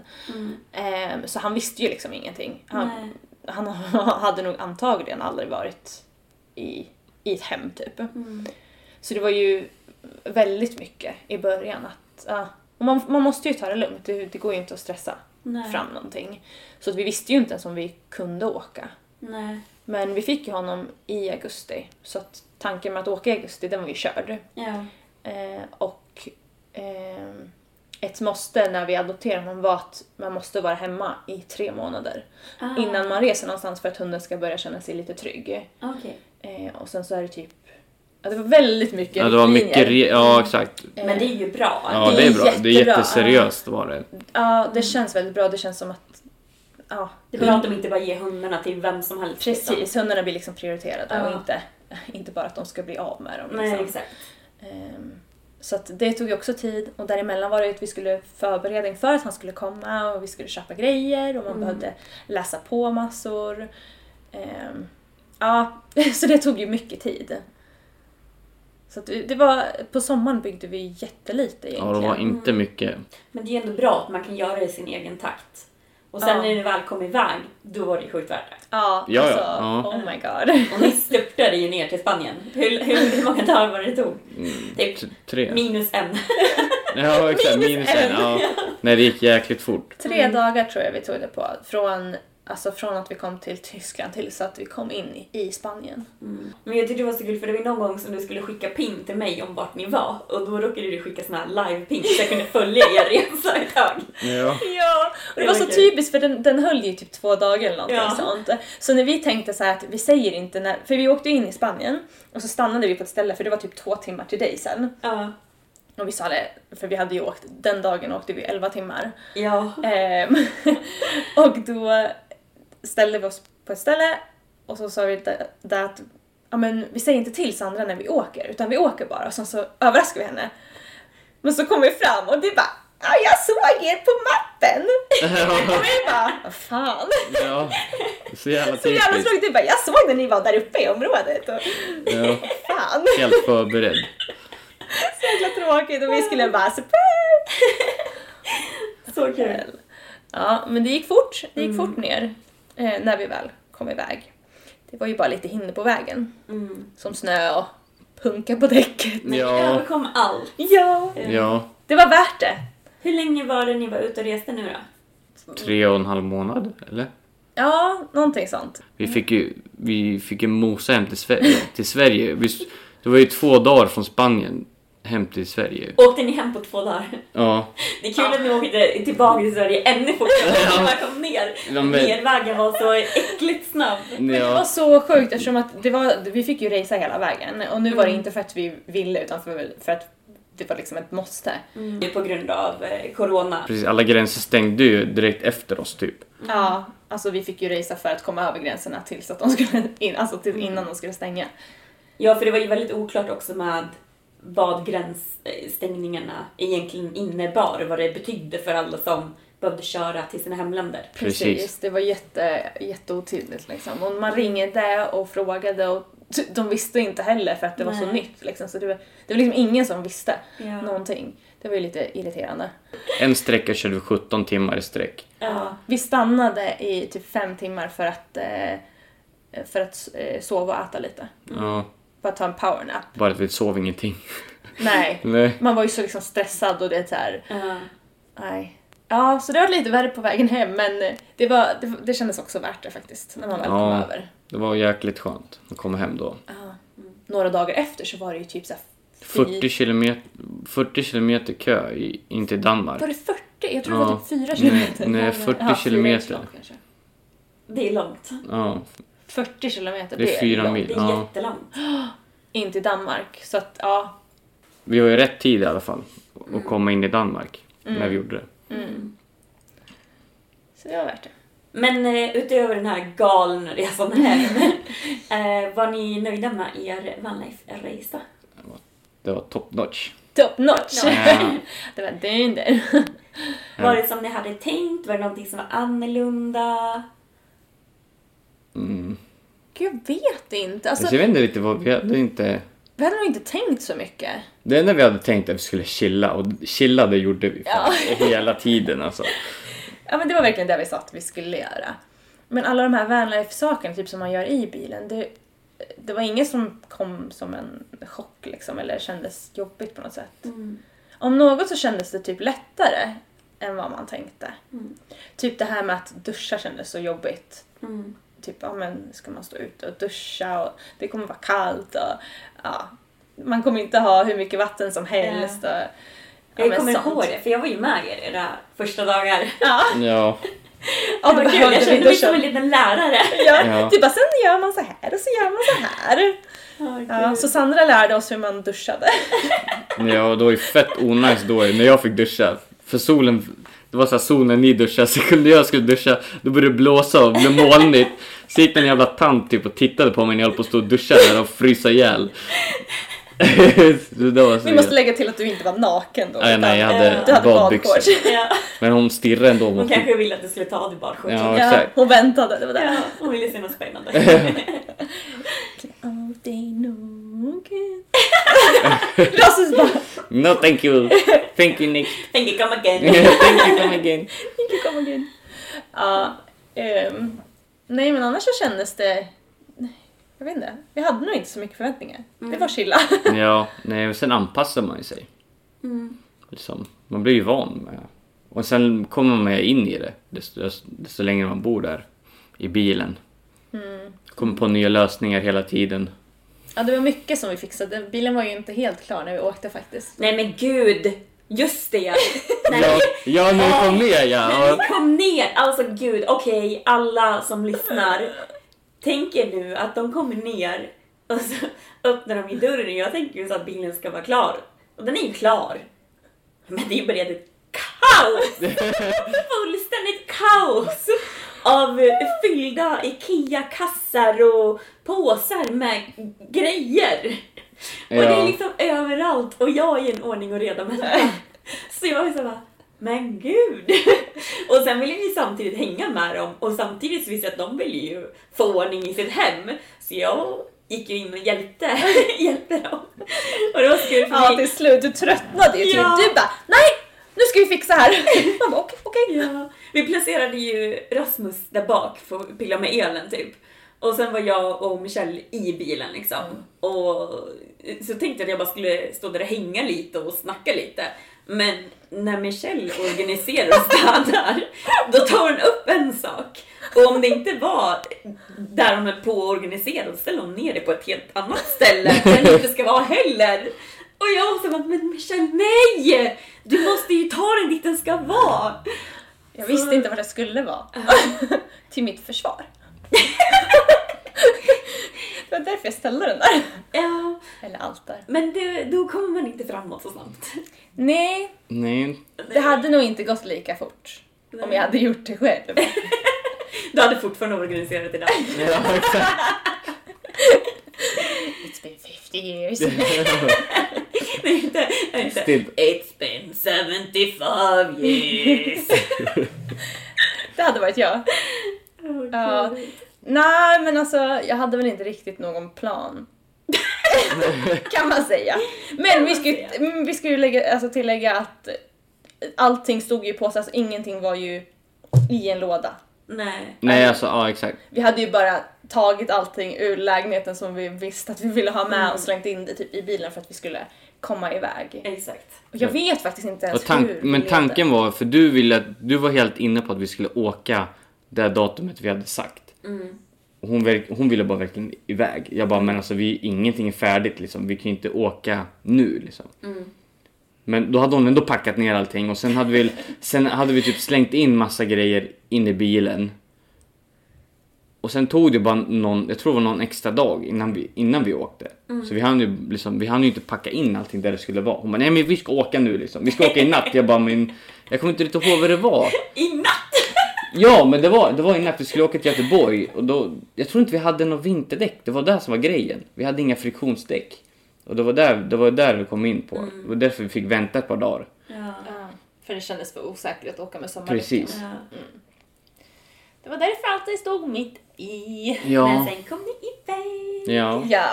Speaker 4: Ehm, så han visste ju liksom ingenting. Han,
Speaker 2: Mm. Nej.
Speaker 4: han hade nog antagligen aldrig varit i, i ett hem typ.
Speaker 2: Mm.
Speaker 4: Så det var ju väldigt mycket i början att ja. och man, man måste ju ta det lugnt, det, det går ju inte att stressa
Speaker 2: Nej.
Speaker 4: fram någonting. Så att vi visste ju inte ens om vi kunde åka.
Speaker 2: Nej.
Speaker 4: Men vi fick ju honom i augusti, så att tanken med att åka i augusti, den var ju körd.
Speaker 2: Ja.
Speaker 4: Eh, och eh, ett måste när vi adopterade honom var att man måste vara hemma i tre månader
Speaker 2: Ah.
Speaker 4: innan man reser någonstans för att hunden ska börja känna sig lite trygg.
Speaker 2: Okej.
Speaker 4: Eh, och sen så är det typ, ja det var väldigt mycket riktlinjer.
Speaker 3: ja exakt.
Speaker 4: Eh.
Speaker 2: Men det är ju bra.
Speaker 4: Ja, det är bra. Det är jättebra. jätteseriöst
Speaker 3: var det.
Speaker 4: Ja,
Speaker 2: Mm.
Speaker 4: det känns väldigt bra, det känns som att, ja,
Speaker 2: Det är bra att de inte bara ger hundarna till vem som helst. liksom.
Speaker 4: precis, hundarna blir liksom prioriterade och
Speaker 2: Ja.
Speaker 4: inte, inte bara att de ska bli av med dem. Liksom.
Speaker 2: Nej, exakt.
Speaker 4: Ehm, Så att det tog ju också tid och däremellan var det ju att vi skulle förbereda inför att han skulle komma och vi skulle köpa grejer och man behövde läsa på massor. Ehm, Ja, så det tog ju mycket tid. Så att det var, på sommaren byggde vi jättelite egentligen.
Speaker 3: inte mycket.
Speaker 2: Men det är ju ändå bra att man kan göra det i sin egen takt. Och sen
Speaker 4: Ja.
Speaker 2: när ni väl kom iväg, då var det ju sjukt värt det.
Speaker 4: Ja,
Speaker 3: Ja, ja.
Speaker 4: alltså,
Speaker 3: Ja.
Speaker 4: oh my god.
Speaker 2: Och ni störtade ju ner till Spanien. Hur, hur, hur många dagar var det det tog?
Speaker 4: Mm.
Speaker 2: Typ
Speaker 3: T- tre.
Speaker 2: minus en.
Speaker 3: ja, exakt. Minus en. Ja. Nej, det gick jäkligt fort.
Speaker 4: Tre dagar tror jag vi tog det på. Från, alltså från att vi kom till Tyskland tills att vi kom in i- i Spanien.
Speaker 2: Men jag tyckte det var så kul för det var någon gång som du skulle skicka ping till mig om vart ni var och då råkade du skicka såna här live-ping så jag kunde följa er resa ett tag.
Speaker 3: Ja.
Speaker 4: Ja, och det var så typ-
Speaker 2: Okej.
Speaker 4: typiskt för den, den höll ju typ två dagar eller någonting
Speaker 2: Ja.
Speaker 4: sånt. Så när vi tänkte så här att vi säger inte när, för vi åkte in i Spanien och så stannade vi på ett ställe för det var typ två timmar till dig sen.
Speaker 2: Ja.
Speaker 4: Och vi sa det, för vi hade ju åkt, den dagen åkte vi 11 timmar.
Speaker 2: Ja.
Speaker 4: Ehm, och då ställde vi oss på ett ställe och så sa vi där där att ja, men vi säger inte till Sandra när vi åker utan vi åker bara och sen så överraskar vi henne. Men så kom vi fram och det bara ja, jag såg er på mappen! och vi bara vad fan!
Speaker 3: ja. Så jävla
Speaker 4: Så jävla
Speaker 3: typiskt.
Speaker 4: tråkigt, du bara jag såg när ni var där uppe i området och
Speaker 3: Ja.
Speaker 4: fan!
Speaker 3: Helt förberedd.
Speaker 4: Så jävla tråkigt och vi skulle bara surprise!
Speaker 2: Så kul. Mm.
Speaker 4: Ja, men det gick fort. Det gick fort ner eh, när vi väl kom iväg. Det var ju bara lite hinder på vägen.
Speaker 2: Mm.
Speaker 4: Som snö och punka på däcket.
Speaker 3: Ja.
Speaker 2: Överkom allt.
Speaker 4: Ja,
Speaker 3: Ja.
Speaker 4: det var värt det.
Speaker 2: Hur länge var det ni var ute och reste nu då?
Speaker 3: Tre och en halv månad, eller?
Speaker 4: Ja, någonting sånt.
Speaker 3: Vi fick ju, vi fick ju mosa hem till Sverige. Till Sverige. Vi, s- det var ju två dagar från Spanien hem till Sverige.
Speaker 2: Åkte ni hem på två dagar?
Speaker 3: Ja.
Speaker 2: Det är kul att ni åkte tillbaka till Sverige ännu fortare än ni bara kom ner.
Speaker 3: Ja, men-
Speaker 2: Nervägen var så äckligt snabb.
Speaker 4: Men det var
Speaker 3: ja.
Speaker 4: så sjukt eftersom att det var, vi fick ju resa hela vägen och nu
Speaker 2: Mm.
Speaker 4: var det inte för att vi ville utan för, för att det var liksom ett måste.
Speaker 2: Nu på grund av eh, corona.
Speaker 3: Precis, alla gränser stängde ju direkt efter oss typ.
Speaker 2: Mm.
Speaker 4: Ja, alltså vi fick ju resa för att komma över gränserna tills att de skulle in, alltså till
Speaker 2: Mm.
Speaker 4: innan de skulle stänga.
Speaker 2: Ja, för det var ju väldigt oklart också med vad gränsstängningarna egentligen innebar, vad det betydde för alla som behövde köra till sina hemländer.
Speaker 3: Precis.
Speaker 4: Det var jätte, jätteotydligt liksom. Och man ringde och frågade och t- de visste inte heller för att det var så
Speaker 2: Nej.
Speaker 4: nytt liksom. Så det var, det var liksom ingen som visste
Speaker 2: Ja.
Speaker 4: någonting. Det var ju lite irriterande.
Speaker 3: En sträcka körde vi 17 timmar i sträck.
Speaker 2: Ja.
Speaker 4: Vi stannade i typ fem timmar för att, eh, för att eh, sova och äta lite.
Speaker 3: Ja,
Speaker 4: För att ta en powernap.
Speaker 3: bara att vi sov ingenting.
Speaker 4: Nej.
Speaker 3: Nej.
Speaker 4: Man var ju så liksom stressad och det är så här. Nej. Ja, så det var lite värre på vägen hem men det, var, det, det kändes också värt det faktiskt när man väl kom
Speaker 3: Ja,
Speaker 4: över.
Speaker 3: det var jäkligt skönt att komma hem då.
Speaker 4: några dagar efter så var det ju typ såhär
Speaker 3: 40 kilometer, 40 kilometer kö i, in till Danmark.
Speaker 4: Var det 40? Jag tror det var
Speaker 3: Ja.
Speaker 4: typ 4
Speaker 3: Nej,
Speaker 4: kilometer.
Speaker 3: nej, 40 kilometer.
Speaker 2: Det är långt.
Speaker 3: Ja,
Speaker 4: 40 kilometer,
Speaker 3: det är fyra
Speaker 4: långt.
Speaker 2: Det
Speaker 3: mil.
Speaker 2: är
Speaker 3: Ja.
Speaker 2: jättelångt.
Speaker 4: In till Danmark. Så att ja,
Speaker 3: Vi var i rätt tid i alla fall att komma in i Danmark när vi gjorde det.
Speaker 4: så det var värt det.
Speaker 2: Men eh, utöver den här galna resan hem, eh, var ni nöjda med er vanlife-resa?
Speaker 3: Det var top notch.
Speaker 4: Top notch!
Speaker 3: Ja.
Speaker 4: det var dunder.
Speaker 2: Var det som ni hade tänkt? Var det någonting som var annorlunda?
Speaker 4: Gud, jag vet inte. Alltså,
Speaker 3: Alltså, jag vet inte riktigt vad vi hade inte...
Speaker 4: vi hade nog inte tänkt så mycket.
Speaker 3: Det enda vi hade tänkt är att vi skulle chilla och chilla det gjorde vi fan, hela tiden alltså.
Speaker 4: Ja men det var verkligen det vi sa att vi skulle göra. Men alla de här vanlife-sakerna typ som man gör i bilen, det, det var inget som kom som en chock liksom eller kändes jobbigt på något sätt.
Speaker 2: Mm.
Speaker 4: Om något så kändes det typ lättare än vad man tänkte.
Speaker 2: Mm.
Speaker 4: Typ det här med att duscha kändes så jobbigt.
Speaker 2: Mm.
Speaker 4: Typ, ja men ska man stå ute och duscha och det kommer vara kallt och ja, man kommer inte ha hur mycket vatten som helst. Och, ja,
Speaker 2: Jag
Speaker 4: men
Speaker 2: kommer
Speaker 4: sånt.
Speaker 2: ihåg det, för jag var ju med er era första dagar.
Speaker 3: Ja,
Speaker 4: Ja,
Speaker 2: det var
Speaker 4: då
Speaker 2: kul, jag
Speaker 4: behövde vi
Speaker 2: kände mig
Speaker 4: duscha.
Speaker 2: som en liten lärare.
Speaker 4: Ja,
Speaker 3: Ja.
Speaker 4: Typ bara, sen gör man så här och så gör man så här. Ja, så Sandra lärde oss hur man duschade.
Speaker 3: ja det var ju fett onajs då när jag fick duscha. För solen, det var så här solen ni duschade, så kunde jag skulle duscha, då började det blåsa och blev molnigt. Så gick en jävla tant typ och tittade på mig när jag höll på att stå och duscha där och frysa ihjäl. Så det var så
Speaker 4: Vi måste lägga till att du inte var naken då.
Speaker 3: Nej,
Speaker 4: utan
Speaker 3: nej, jag hade
Speaker 4: eh, du hade
Speaker 3: badbyxor.
Speaker 4: badkors.
Speaker 2: Ja.
Speaker 3: Men hon stirrade ändå
Speaker 2: Hon
Speaker 3: mot
Speaker 2: kanske ville att du skulle ta typ av dig badskjortan.
Speaker 3: Ja,
Speaker 4: Ja,
Speaker 3: exakt.
Speaker 4: hon väntade, det var där.
Speaker 2: Ja, hon ville se något spännande.
Speaker 4: Oh, det är nog... Rasmus bara,
Speaker 3: No thank you! Thank you Nick!
Speaker 2: Tänker come again.
Speaker 3: thank you come again!
Speaker 4: "Ni kan komma in. Ja, ehm, nej men annars så kändes det... Jag vet inte. Vi hade nog inte så mycket förväntningar. Det var chilla.
Speaker 3: Ja, nej, och sen anpassar man ju sig. Liksom, man blir ju van med Och sen kommer man ju in i det, desto, desto längre man bor där i bilen. Kommer på nya lösningar hela tiden.
Speaker 4: Ja, det var mycket som vi fixade. Bilen var ju inte helt klar när vi åkte faktiskt.
Speaker 2: Nej men gud! Just det! Nej.
Speaker 3: Ja, ja nu kom ner ja!
Speaker 2: Men
Speaker 3: Och,
Speaker 2: vi kom ner! Alltså gud, okej, alla som lyssnar. Tänker nu att de kommer ner och så öppnar de i dörren och jag tänker ju så att bilen ska vara klar. Och den är ju klar. Men det är bara ett kaos! Fullständigt kaos! Av fyllda IKEA-kassar och påsar med grejer. Och det är
Speaker 3: Ja.
Speaker 2: liksom överallt och jag är en ordning och reda människa. Så jag är så bara, men gud! Och sen ville vi samtidigt hänga med dem och samtidigt så visste jag att de ville ju få ordning i sitt hem. Så jag gick ju in och hjälpte, hjälpte dem. Och det var så kul för
Speaker 4: Ja,
Speaker 2: vi-
Speaker 4: till slut. Du tröttnade ju typ.
Speaker 2: Ja.
Speaker 4: Du bara nej! Nu ska vi fixa här! Man bara okej, okej.
Speaker 2: Ja. Vi placerade ju Rasmus där bak för att pilla med elen typ. Och sen var jag och Michelle i bilen liksom. Och så tänkte jag att jag bara skulle stå där och hänga lite och snacka lite. Men när Michelle organiserar och städar, då tar hon upp en sak. Och om det inte var där hon höll på att organisera, då ställer hon ner det på ett helt annat ställe där det inte ska vara heller. Och jag var så bara, men Michelle nej! Du måste ju ta den dit den ska vara!
Speaker 4: Jag visste inte vad det skulle vara. till mitt försvar. det var därför jag ställde den där.
Speaker 2: Ja,
Speaker 4: Eller allt där.
Speaker 2: men det, då kommer man inte framåt så snabbt.
Speaker 4: Nej,
Speaker 3: Nej,
Speaker 4: det hade nog inte gått lika fort. Om jag hade gjort det själv.
Speaker 2: Du hade fortfarande organiserat idag.
Speaker 3: ja, exakt.
Speaker 4: It's been 50 typ years.
Speaker 2: Nej, inte, nej, inte.
Speaker 3: Still.
Speaker 2: It's been 75 years.
Speaker 4: Det hade varit jag. Ja. Nej, men alltså jag hade väl inte riktigt någon plan. kan man säga. Men vi ska, ju- mm, vi ska ju lägga, alltså tillägga att allting stod ju på sig, alltså ingenting var ju i en låda.
Speaker 2: Nej.
Speaker 3: Nej, alltså ja exakt.
Speaker 4: Vi hade ju bara tagit allting ur lägenheten som vi visste att vi ville ha
Speaker 3: Mm.
Speaker 4: med och slängt in det typ i bilen för att vi skulle komma iväg.
Speaker 2: Exakt.
Speaker 4: Och jag vet faktiskt inte
Speaker 3: Mm. Och
Speaker 4: ens
Speaker 3: tank,
Speaker 4: hur vi
Speaker 3: men
Speaker 4: levde.
Speaker 3: tanken var, för du ville att, du var helt inne på att vi skulle åka det datumet vi hade sagt.
Speaker 4: Mm.
Speaker 3: Och hon, verk- hon ville bara verkligen iväg. Jag bara, men alltså vi, ingenting är färdigt liksom. Vi kan ju inte åka nu liksom.
Speaker 4: Mm.
Speaker 3: Men då hade hon ändå packat ner allting och sen hade vi, sen hade vi typ slängt in massa grejer in i bilen. Och sen tog det bara någon, jag tror det var någon extra dag innan vi, innan vi åkte. Så vi hann, ju liksom, vi hann ju inte packa in allting där det skulle vara. Hon bara, nej men vi ska åka nu liksom. Vi ska åka i natt. Jag bara, men jag kommer inte riktigt ihåg vad det var.
Speaker 2: I natt!
Speaker 3: Ja, men det var, det var i natt. Vi skulle åka till Göteborg och då, jag tror inte vi hade någon vinterdäck. Det var det som var grejen. Vi hade inga friktionsdäck. Och det var där, det var där vi kom in på. Det var därför vi fick vänta ett par dagar.
Speaker 4: För det kändes för osäkert att åka med liksom. sommardäcken.
Speaker 3: Precis.
Speaker 4: Det var därför allting stod mitt i.
Speaker 2: Men
Speaker 3: Ja.
Speaker 2: sen kom ni iväg.
Speaker 3: Ja.
Speaker 4: Ja,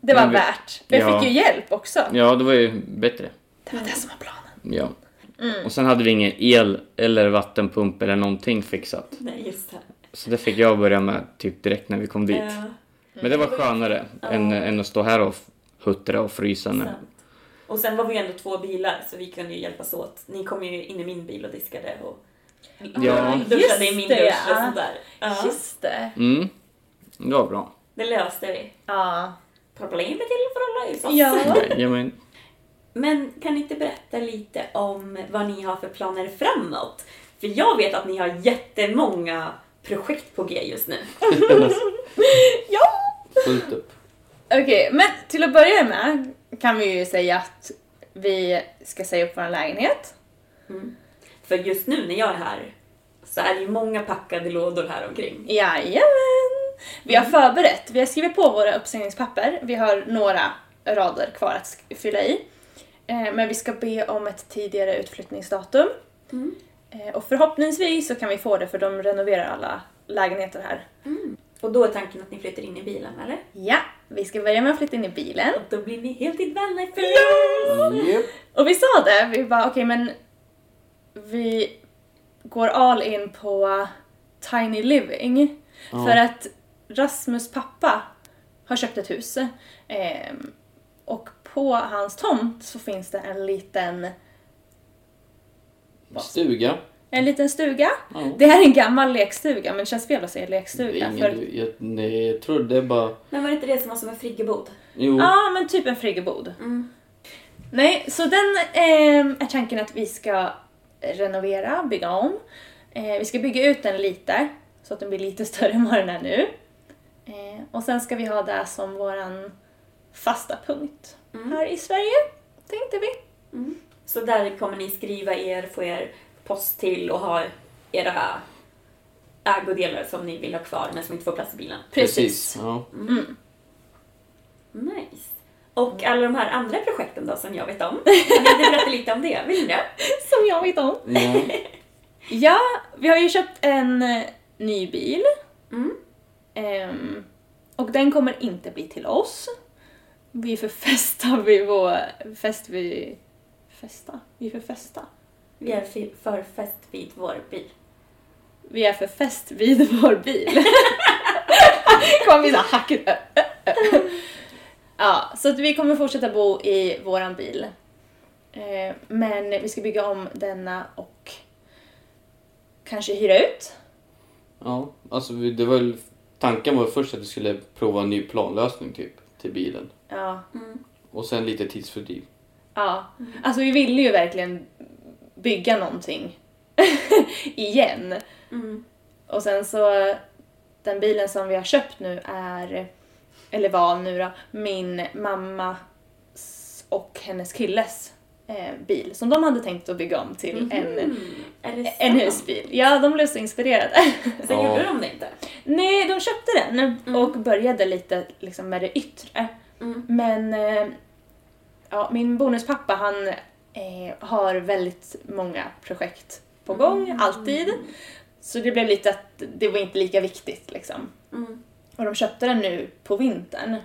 Speaker 4: det var
Speaker 3: Men vi-
Speaker 4: värt. Jag
Speaker 3: Ja.
Speaker 4: fick ju hjälp också. Alltså,
Speaker 3: Ja, det var ju bättre.
Speaker 4: Det var det som var planen.
Speaker 3: Ja.
Speaker 2: Mm.
Speaker 3: Och sen hade vi ingen el eller vattenpump eller någonting fixat.
Speaker 2: Nej, just det.
Speaker 3: Så det fick jag börja med typ direkt när vi kom dit.
Speaker 2: Ja,
Speaker 3: Men det var skönare än, än att stå här och f- huttra och frysa nu.
Speaker 2: sant. Och sen var vi ju ändå två bilar så vi kunde ju hjälpas åt. Ni kom ju in i min bil och diskade och
Speaker 3: Ja.
Speaker 2: duschade i
Speaker 4: Just
Speaker 2: min
Speaker 4: det,
Speaker 2: dusch och
Speaker 4: ja.
Speaker 2: sådär. Ja,
Speaker 4: Just det.
Speaker 3: Mm. Det var bra.
Speaker 2: det löste vi.
Speaker 4: Ja.
Speaker 2: Problemet till för alla lösa.
Speaker 4: Ja.
Speaker 3: Jajamän.
Speaker 2: Men kan ni inte berätta lite om vad ni har för planer framåt? För jag vet att ni har jättemånga projekt på G just nu.
Speaker 4: ja.
Speaker 5: Fullt upp.
Speaker 4: Okej, men till att börja med kan vi ju säga att vi ska säga upp vår lägenhet.
Speaker 2: För just nu när jag är här så är det ju många packade lådor här omkring.
Speaker 4: Jajamän! Vi har förberett, vi har skrivit på våra uppsägningspapper. Vi har några rader kvar att sk- fylla i. Eh, Men vi ska be om ett tidigare utflyttningsdatum. Eh, Och förhoppningsvis så kan vi få det för de renoverar alla lägenheter här.
Speaker 2: Och då är tanken att ni flyttar in i bilen, eller?
Speaker 4: Ja, vi ska börja med att flytta in i bilen.
Speaker 2: Och då blir ni heltidsvänner för
Speaker 4: Och vi sa det, vi bara okej men vi går all in på Tiny Living. För att Rasmus pappa har köpt ett hus. Ehm, och på hans tomt så finns det en liten,
Speaker 3: Stuga.
Speaker 4: en liten stuga.
Speaker 3: Ja.
Speaker 4: Det här är en gammal lekstuga, men det känns fel att säga
Speaker 3: Det
Speaker 4: lekstuga.
Speaker 3: är
Speaker 4: för-
Speaker 3: ingen, jag, nej, jag tror det är bara...
Speaker 2: Men var det inte det som var som en friggebod?
Speaker 3: Jo,
Speaker 4: Ja, men typ en friggebod. Nej, så den ehm, är tanken att vi ska renovera, bygga om. Eh, vi ska bygga ut den lite, så att den blir lite större än vad den är nu. Eh, och sen ska vi ha det som våran fasta punkt här i Sverige, tänkte vi.
Speaker 2: Så där kommer ni skriva er, få er post till och ha era ägodelar som ni vill ha kvar men som inte får plats i bilen.
Speaker 3: precis. Ja.
Speaker 2: Nice. Och alla de här andra projekten då som jag vet om. Kan ni inte berätta lite om det? Vill ni det?
Speaker 4: Som jag vet om.
Speaker 3: Ja.
Speaker 4: Ja, vi har ju köpt en eh, ny bil. Ehm, och den kommer inte bli till oss. Vi förfästar vid vår... Fäst vi... Fästa? Vi förfästa.
Speaker 2: Vi är fi- för fest vid vår bil.
Speaker 4: Vi är för fäst vid vår bil. kommer vi så här hackigt. ja, så att vi kommer fortsätta bo i våran bil. Eh, Men vi ska bygga om denna och kanske hyra ut.
Speaker 3: Ja, alltså vi- det var väl, tanken var ju först att vi skulle prova en ny planlösning typ till bilen
Speaker 4: Ja,
Speaker 3: och sen lite tidsfördriv.
Speaker 4: Ja, alltså vi ville ju verkligen bygga någonting igen. Och sen så, den bilen som vi har köpt nu är, eller var nu då, min mamma och hennes killes eh, bil som de hade tänkt att bygga om till en,
Speaker 2: Är det
Speaker 4: en
Speaker 2: sant?
Speaker 4: husbil. Ja, de blev så inspirerade.
Speaker 2: Så
Speaker 3: Ja.
Speaker 2: gjorde de det inte?
Speaker 4: Nej, de köpte den och började lite liksom, med det yttre. Men eh, ja, min bonuspappa han eh, har väldigt många projekt på gång, alltid. Så det blev lite att det var inte lika viktigt liksom.
Speaker 2: Mm.
Speaker 4: Och de köpte den nu på vintern.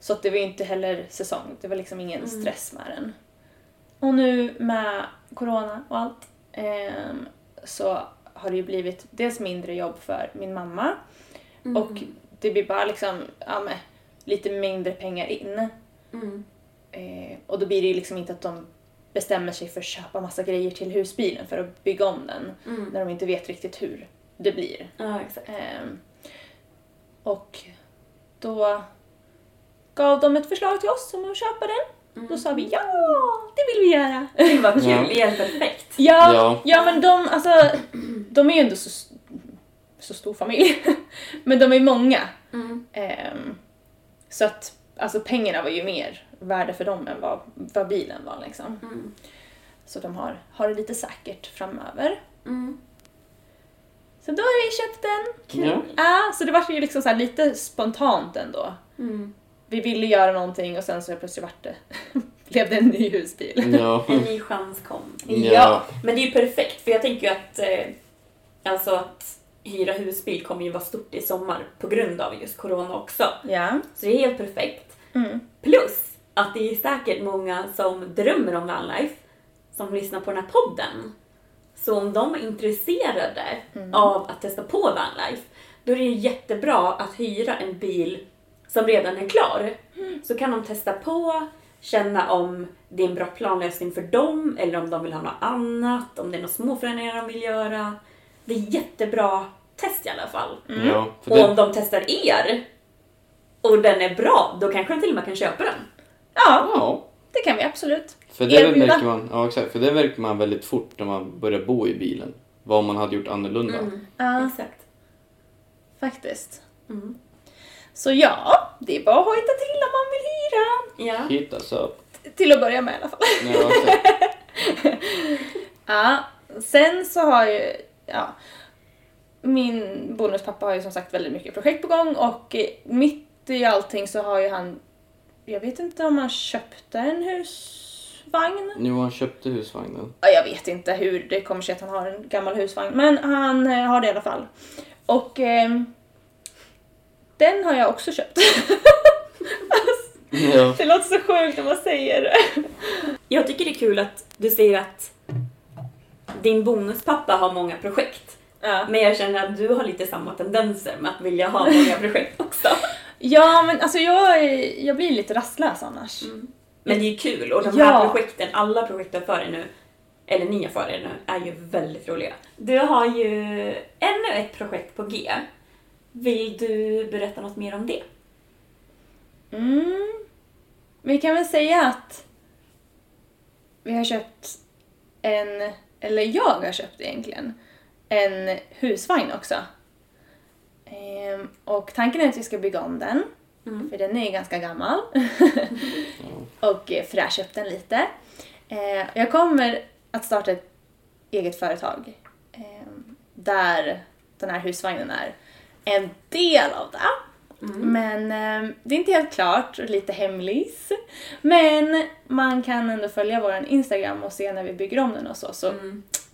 Speaker 4: Så att det var ju inte heller säsong, det var liksom ingen stress med den. Och nu med corona och allt ehm, så har det ju blivit dels mindre jobb för min mamma och det blir bara liksom, ja, men, lite mindre pengar in.
Speaker 2: Mm.
Speaker 4: Eh, och då blir det ju liksom inte att de bestämmer sig för att köpa massa grejer till husbilen för att bygga om den när de inte vet riktigt hur det blir.
Speaker 2: Ja, exakt.
Speaker 4: Ehm, och då gav de ett förslag till oss om att köpa den. Då sa vi ja, det vill vi göra.
Speaker 2: Det var kul,
Speaker 3: Ja.
Speaker 2: det är helt perfekt.
Speaker 4: Ja, ja.
Speaker 3: Ja.
Speaker 4: men de, alltså, de är ju ändå så, så stor familj. men de är många. Ehm, så att alltså, pengarna var ju mer värda för dem än vad, vad bilen var. Liksom. Så de har, har det lite säkert framöver.
Speaker 2: Mm.
Speaker 4: Så då har vi köpt den.
Speaker 3: Ja.
Speaker 4: Ja, så det var ju liksom så här lite spontant ändå. Vi ville göra någonting och sen så plötsligt vart det, blev det en ny husbil.
Speaker 3: Ja.
Speaker 2: En ny chans kom.
Speaker 3: ja.
Speaker 2: Men det är ju perfekt för jag tänker ju att eh, alltså att hyra husbil kommer ju vara stort i sommar på grund av just corona också.
Speaker 4: Ja.
Speaker 2: Så det är helt perfekt.
Speaker 4: Mm.
Speaker 2: Plus att det är säkert många som drömmer om vanlife som lyssnar på den här podden. Så om de är intresserade av att testa på vanlife då är det ju jättebra att hyra en bil som redan är klar. Så kan de testa på, känna om det är en bra planlösning för dem eller om de vill ha något annat, om det är några småförändringar de vill göra. Det är jättebra test i alla fall.
Speaker 3: ja. För
Speaker 2: Mm. Och om
Speaker 3: det,
Speaker 2: de testar er och den är bra, då kanske de till och med kan köpa den.
Speaker 4: ja.
Speaker 3: ja.
Speaker 4: Det kan vi absolut.
Speaker 3: För det
Speaker 4: Erbjuda.
Speaker 3: märker man, ja exakt, för det märker man väldigt fort när man börjar bo i bilen. Vad man hade gjort annorlunda.
Speaker 4: Ja,
Speaker 2: Exakt.
Speaker 4: faktiskt. Så ja, det är bara att hojta till om man vill hyra.
Speaker 2: Ja.
Speaker 3: Hitta så.
Speaker 4: Till att börja med i alla fall.
Speaker 3: Ja, exakt.
Speaker 4: Ja,
Speaker 3: Mm.
Speaker 4: sen så har ju, ja. Min bonuspappa har ju som sagt väldigt mycket projekt på gång och eh, mitt i allting så har ju han, jag vet inte om han köpte en husvagn.
Speaker 3: Nu har han köpte husvagnen.
Speaker 4: Ja, jag vet inte hur det kommer sig att han har en gammal husvagn, men han eh, har det i alla fall. Och ehm, den har jag också köpt.
Speaker 3: Ja.
Speaker 4: det låter så sjukt när man säger det.
Speaker 2: Jag tycker det är kul att du säger att din bonuspappa har många projekt.
Speaker 4: Ja.
Speaker 2: Men jag känner att du har lite samma tendenser med att vilja ha många projekt också.
Speaker 4: Ja, men alltså jag, är- jag blir lite rastlös annars.
Speaker 2: Men det är ju kul och de
Speaker 4: Ja.
Speaker 2: här projekten, alla projekten för er nu, eller nya för er nu, är ju väldigt roliga. Du har ju ännu ett projekt på G. Vill du berätta något mer om det?
Speaker 4: Mm. Vi kan väl säga att vi har köpt en, eller jag har köpt egentligen, en husvagn också. Ehm, och tanken är att vi ska bygga om den, för den är ju ganska gammal. och eh, fräscha upp den lite. Ehm, jag kommer att starta ett eget företag ehm, där den här husvagnen är en del av det. Men ehm, det är inte helt klart och lite hemlis. Men man kan ändå följa vår Instagram och se när vi bygger om den och så. Så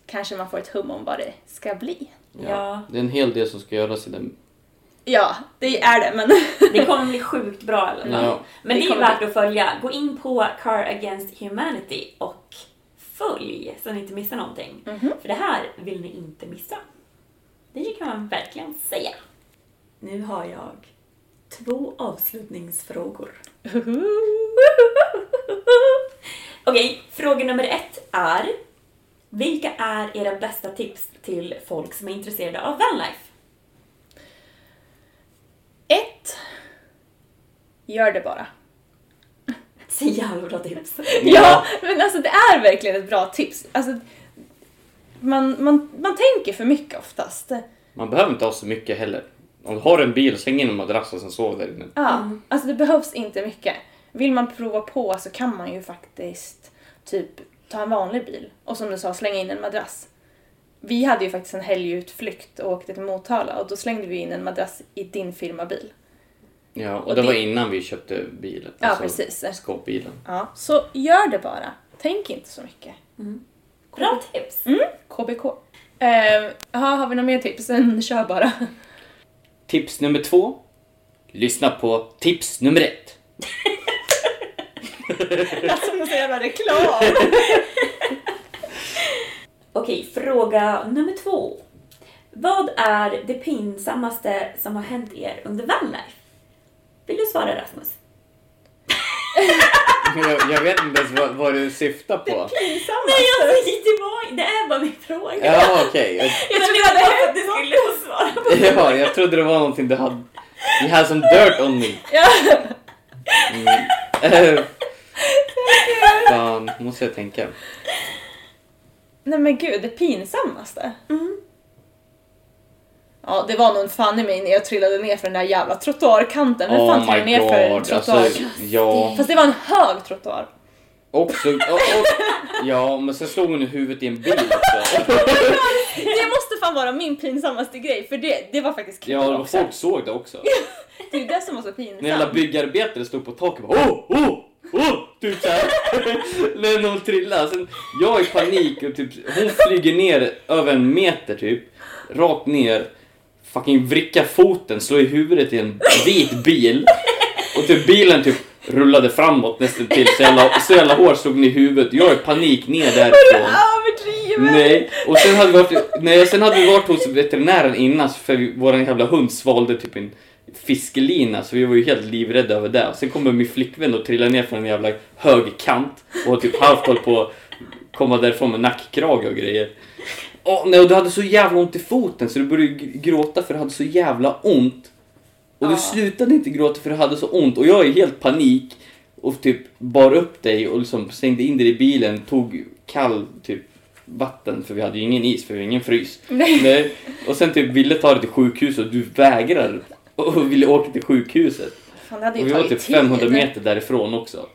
Speaker 4: kanske man får ett hum om vad det ska bli.
Speaker 2: Ja.
Speaker 3: Det är en hel del som ska göras i den.
Speaker 4: Ja, det är det men...
Speaker 2: Det kommer bli sjukt bra i alla fall.
Speaker 3: Ja.
Speaker 2: Men det,
Speaker 4: Det
Speaker 2: är ju
Speaker 4: kommer
Speaker 2: värt att följa. Gå in på Car Against Humanity och följ så ni inte missar någonting. För det här vill ni inte missa. Det kan man verkligen säga. Nu har jag två avslutningsfrågor. Okej, fråga nummer ett är Vilka är era bästa tips till folk som är intresserade av vanlife?
Speaker 4: Ett. Gör det bara.
Speaker 2: Så jävla bra tips!
Speaker 4: Ja, men alltså det är verkligen ett bra tips. Alltså, man, man, man tänker för mycket oftast.
Speaker 3: Man behöver inte ha så mycket heller. Om du har en bil, släng in en madrass och sen sov där inne.
Speaker 4: Ja, alltså det behövs inte mycket. Vill man prova på så kan man ju faktiskt typ ta en vanlig bil och som du sa slänga in en madrass. Vi hade ju faktiskt en helgutflykt och åkte till Motala och då slängde vi in en madrass i din firmabil.
Speaker 3: Ja, och,
Speaker 4: Och
Speaker 3: det,
Speaker 4: det-
Speaker 3: var innan vi köpte bilen. Alltså,
Speaker 4: Ja, precis.
Speaker 3: Skåpbilen.
Speaker 4: Ja, så gör det bara. Tänk inte så mycket.
Speaker 2: Bra tips!
Speaker 4: KBK. Eh, ja, har vi några mer tips? än Kör bara.
Speaker 3: Tips nummer två. Lyssna på tips nummer ett.
Speaker 4: Alltså det är så jävla reklam!
Speaker 2: Okej, fråga nummer två. Vad är det pinsammaste som har hänt er under vanlife? Vill du svara Rasmus?
Speaker 3: Men jag, jag vet inte ens vad, vad du syftar på.
Speaker 2: Nej, jag det, var, det är bara min fråga.
Speaker 3: Ja, okej.
Speaker 2: Jag trodde det var för att du skulle få svara på
Speaker 3: Jag- Ja, jag trodde det var någonting du hade... You had some dirt on me.
Speaker 4: Ja.
Speaker 3: Eh, Fan, måste jag tänka.
Speaker 4: Nej men gud, det pinsammaste. Ja, det var någon fan i mig när jag trillade ner för den där jävla trottoarkanten. Vem fan
Speaker 3: Oh
Speaker 4: trillar
Speaker 3: my
Speaker 4: ner för en
Speaker 3: god.
Speaker 4: trottoar?
Speaker 3: Alltså, ja.
Speaker 4: Fast det var en hög trottoar.
Speaker 3: Också, och, och, ja, men sen slog hon i huvudet i en bil också.
Speaker 4: Det måste fan vara min pinsammaste grej, för det, det var faktiskt kul
Speaker 3: Ja, och
Speaker 4: också.
Speaker 3: folk såg det också.
Speaker 4: Det är ju det som var så pinsamt.
Speaker 3: När jävla byggarbetare stod på taket och bara åh, åh, åh, typ såhär. När de trillade. Sen jag i panik och typ hon flyger ner över en meter typ. Rakt ner. Fucking vricka foten, slår i huvudet i en vit bil. Och typ bilen typ rullade framåt nästan till så jävla, så jävla hårt slog den i huvudet. Jag i panik ner därifrån.
Speaker 4: Överdriven!
Speaker 3: Nej, och sen hade, vi varit, nej, sen hade vi varit hos veterinären innan så för vi, våran jävla hund svalde typ en fiskelina så vi var ju helt livrädda över det. Och sen kommer min flickvän och trillar ner från en jävla hög kant och har typ halvt hållit på att komma därifrån med nackkrage och grejer. Åh nej, och du hade så jävla ont i foten så du började gr- gråta för du hade så jävla ont. Och du slutade inte gråta för du hade så ont och jag är helt panik och typ bar upp dig och liksom slängde in dig i bilen, tog kall typ vatten för vi hade ju ingen is för vi hade ingen frys. Nej. Och sen typ ville ta dig till sjukhuset och du vägrade och ville åka till sjukhuset.
Speaker 4: Fan, det hade
Speaker 3: Och
Speaker 4: ju
Speaker 3: vi var
Speaker 4: tagit
Speaker 3: typ
Speaker 4: tid.
Speaker 3: 500 meter därifrån också.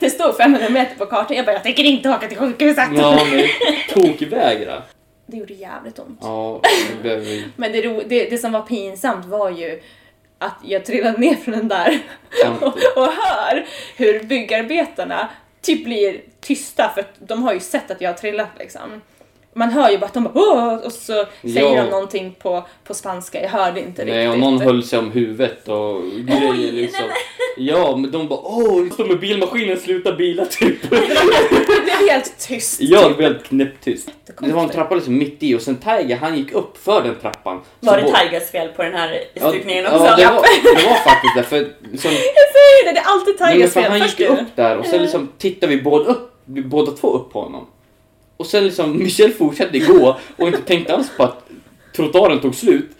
Speaker 4: Det stod 500 meter på kartan. Jag bara, jag tänker inte åka till sjukhuset.
Speaker 3: Ja, men tokvägra.
Speaker 4: Det gjorde jävligt ont.
Speaker 3: Ja, det behöver vi
Speaker 4: Men det, ro, det, det som var pinsamt var ju att jag trillade ner från den där och,
Speaker 3: Kanten.
Speaker 4: och hör hur byggarbetarna typ blir tysta för att de har ju sett att jag har trillat liksom. Man hör ju bara att de bara "Åh!" och så säger
Speaker 3: Ja.
Speaker 4: de någonting på, på spanska, jag hörde inte
Speaker 3: Nej, och
Speaker 4: riktigt.
Speaker 3: någon höll sig om huvudet och grejer
Speaker 2: Oj,
Speaker 3: liksom.
Speaker 2: nej,
Speaker 3: Ja, men de bara åh, står med bilmaskinen, sluta bila typ.
Speaker 4: Det blev helt tyst.
Speaker 3: ja, det blev helt knäpptyst. Det var en
Speaker 4: Jättekonstigt.
Speaker 3: trappa liksom mitt i och sen Tiger, han gick upp för den trappan. Så
Speaker 2: Var det
Speaker 3: vår-
Speaker 2: Tigers fel på den här stukningen också?
Speaker 3: Ja, det var, det var faktiskt det. För, som,
Speaker 4: Jag säger det, det är alltid
Speaker 3: Nej, men
Speaker 4: Tigers
Speaker 3: för han
Speaker 4: fel.
Speaker 3: gick
Speaker 4: Först
Speaker 3: ju
Speaker 4: du. Mm.
Speaker 3: upp där och sen liksom tittade vi båda, upp, vi båda två upp på honom. Och sen liksom Michel fortsatte gå och inte tänkte alls på att trottoaren tog slut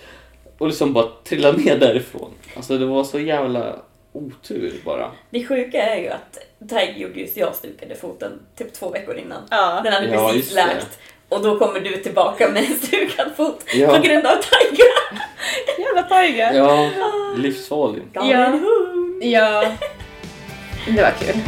Speaker 3: och liksom bara trillade ner därifrån. Alltså det var så jävla otur bara.
Speaker 2: Det sjuka är ju att Tiger gjorde ju så jag stukade foten typ två veckor innan.
Speaker 4: Ja.
Speaker 2: Den hade
Speaker 3: Ja,
Speaker 2: precis
Speaker 3: just det.
Speaker 2: läkt. Och då kommer du tillbaka med en stukad fot
Speaker 3: Ja.
Speaker 2: på grund av Tiger.
Speaker 4: Jävla Tiger.
Speaker 3: Ja, livsfarlig.
Speaker 2: Galen hund.
Speaker 4: Ja. Det var kul.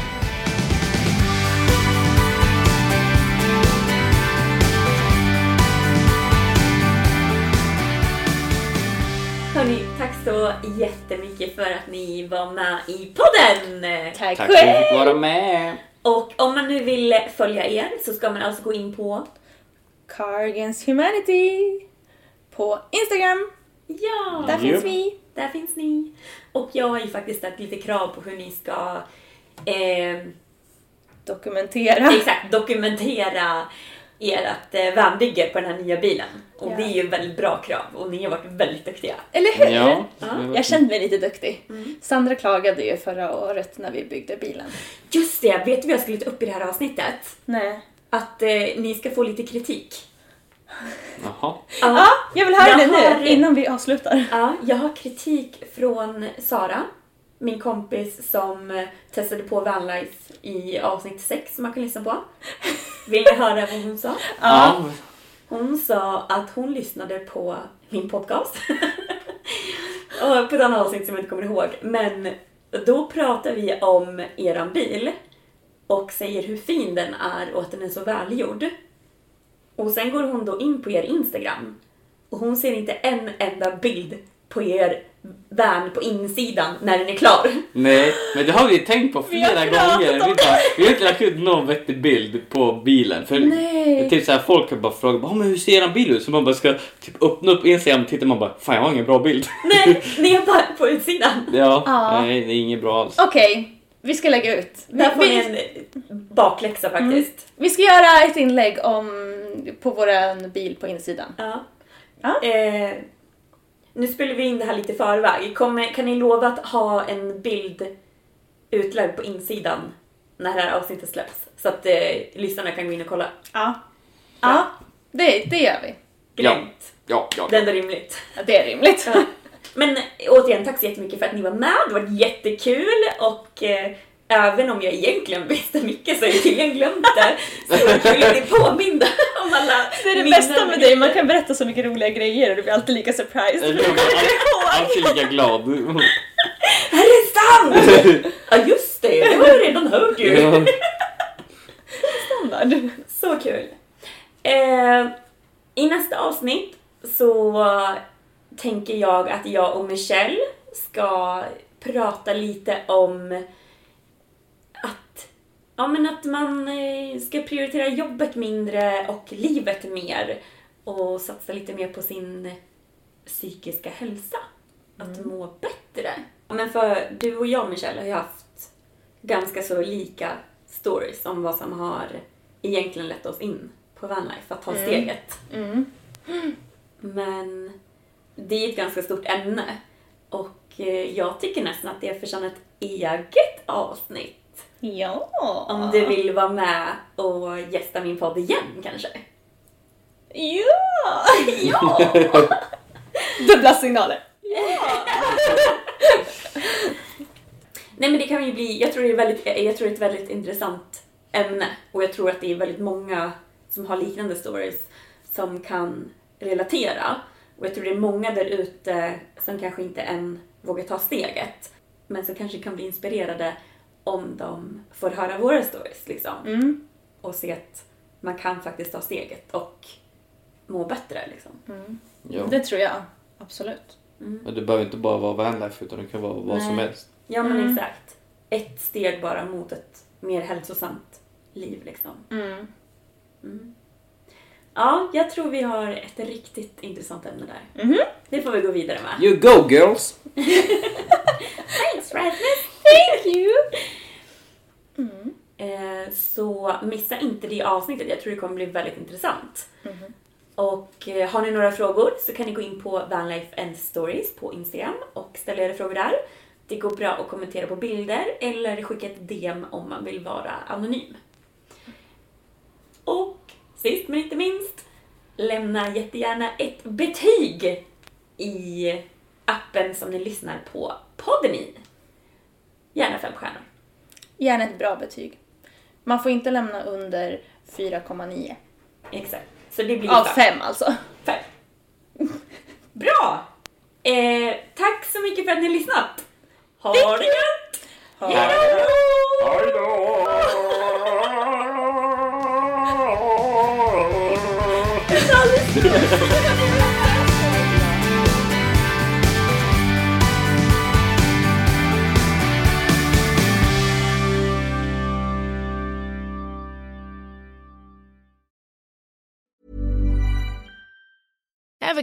Speaker 2: Hörni, tack så jättemycket för att ni var med i podden!
Speaker 4: Tack
Speaker 3: Tack för att du fick vara med.
Speaker 2: Och om man nu vill följa er så ska man alltså gå in på...
Speaker 4: Car Against Humanity på Instagram.
Speaker 2: Ja!
Speaker 4: Där
Speaker 2: Där,
Speaker 4: finns
Speaker 6: Japp.
Speaker 4: vi.
Speaker 2: där finns ni! Och jag har ju faktiskt ställt lite krav på hur ni ska eh,
Speaker 4: Dokumentera.
Speaker 2: exakt dokumentera ert eh, värmbygge på den här nya bilen. Och
Speaker 4: Ja.
Speaker 2: det är ju väldigt bra krav och ni har varit väldigt duktiga.
Speaker 4: Eller hur?
Speaker 3: Ja,
Speaker 4: Jag kände mig lite duktig. Sandra klagade ju förra året när vi byggde bilen.
Speaker 2: Just det, vet du vad jag skulle ta upp i det här avsnittet?
Speaker 4: Nej.
Speaker 2: Att eh, ni ska få lite kritik.
Speaker 3: Jaha.
Speaker 2: Ja.
Speaker 4: Ja, jag vill höra
Speaker 2: Jag
Speaker 4: det nu
Speaker 2: har-
Speaker 4: innan vi avslutar.
Speaker 2: Ja, jag har kritik från Sara, min kompis som eh, testade på Vanlife i avsnitt 6 som man kan lyssna på. Vill ni höra vad hon sa?
Speaker 3: Ja.
Speaker 2: Hon sa att hon lyssnade på min podcast. Och på ett annat avsnitt som jag inte kommer ihåg. Men då pratar vi om eran bil och säger hur fin den är och att den är så välgjord. Och sen går hon då in på er Instagram och hon ser inte en enda bild på er van på insidan när den är klar.
Speaker 3: Nej, men det har vi tänkt på
Speaker 4: har
Speaker 3: flera
Speaker 4: pratat
Speaker 3: gånger. Vi,
Speaker 4: om
Speaker 3: bara, vi har inte lagt ut någon vettig bild på bilen. För
Speaker 2: Nej.
Speaker 3: Typ så här, folk har bara frågat bara, "Ah, men hur ser eran bil ut? Så man bara ska typ öppna upp Instagram och titta man bara fan jag har ingen bra bild.
Speaker 2: Nej, ni är bara på utsidan.
Speaker 3: ja,
Speaker 4: Ja.
Speaker 3: nej det är inget bra alls.
Speaker 4: Okej, vi ska lägga ut. Vi,
Speaker 2: Där får ni
Speaker 4: vi,
Speaker 2: en bakläxa faktiskt.
Speaker 4: vi ska göra ett inlägg om, på vår bil på insidan.
Speaker 2: Ja.
Speaker 4: Ja.
Speaker 2: Eh, nu spelar vi in det här lite i förväg. Kommer, kan ni lova att ha en bild utlagd på insidan när det här avsnittet släpps? Så att eh, lyssnarna kan gå in och kolla.
Speaker 4: Ja. Ja, det, det gör vi.
Speaker 2: Grymt!
Speaker 3: Ja, ja.
Speaker 2: Det är ändå rimligt.
Speaker 4: Ja, det är rimligt.
Speaker 2: Ja. Men eh, återigen, tack så jättemycket för att ni var med. Det var jättekul och eh, även om jag egentligen visste mycket så har jag tydligen glömt det. Så jag vill bli påmind om alla
Speaker 4: Det är det
Speaker 2: minnen.
Speaker 4: bästa med dig, man kan berätta så mycket roliga grejer och du blir alltid lika surprised.
Speaker 3: Jag blir all- alltid lika glad.
Speaker 2: Är det sant? ja just det, det har jag redan hört ju.
Speaker 3: Ja.
Speaker 4: Standard.
Speaker 2: Så kul. Eh, I nästa avsnitt så tänker jag att jag och Michelle ska prata lite om att, ja, men att man eh, ska prioritera jobbet mindre och livet mer och satsa lite mer på sin psykiska hälsa. Att må bättre. Men för du och jag Michelle har ju haft ganska så lika stories om vad som har egentligen lett oss in på vanlife, att ta steget. Men det är ett ganska stort ämne och eh, jag tycker nästan att det förtjänar ett eget avsnitt.
Speaker 4: Ja.
Speaker 2: Om du vill vara med och gästa min podd igen kanske.
Speaker 4: Ja!
Speaker 2: Ja!
Speaker 4: Dubbla signaler.
Speaker 2: Nej men det kan ju bli, jag tror det är, väldigt, jag tror det är ett väldigt intressant ämne och jag tror att det är väldigt många som har liknande stories som kan relatera. Och jag tror det är många där ute som kanske inte än vågar ta steget men som kanske kan bli inspirerade om de får höra våra stories liksom. Och se att man kan faktiskt ta steget och må bättre liksom.
Speaker 3: ja.
Speaker 4: Det tror jag. Absolut.
Speaker 3: Men det behöver inte bara vara vanlife utan det kan vara vad som
Speaker 2: Nej.
Speaker 3: helst.
Speaker 2: Ja men exakt. Ett steg bara mot ett mer hälsosamt liv liksom. Mm. Ja, jag tror vi har ett riktigt intressant ämne där. Det får vi gå vidare med.
Speaker 3: You go girls!
Speaker 2: Thanks for listening! you! Eh, så missa inte det avsnittet. Jag tror det kommer bli väldigt intressant. Och eh, har ni några frågor så kan ni gå in på Vanlife and Stories på Instagram och ställa era frågor där. Det går bra att kommentera på bilder eller skicka ett DM om man vill vara anonym. Och sist men inte minst, lämna jättegärna ett betyg i appen som ni lyssnar på podden i. Gärna fem stjärnor.
Speaker 4: Gärna ett bra betyg. Man får inte lämna under 4,9.
Speaker 2: Exakt. Så det blir
Speaker 4: Av
Speaker 2: fem.
Speaker 4: 5 alltså.
Speaker 2: Fem. Bra! Eh, tack så mycket för att ni har lyssnat. Ha det gött! Hej då!
Speaker 7: Ever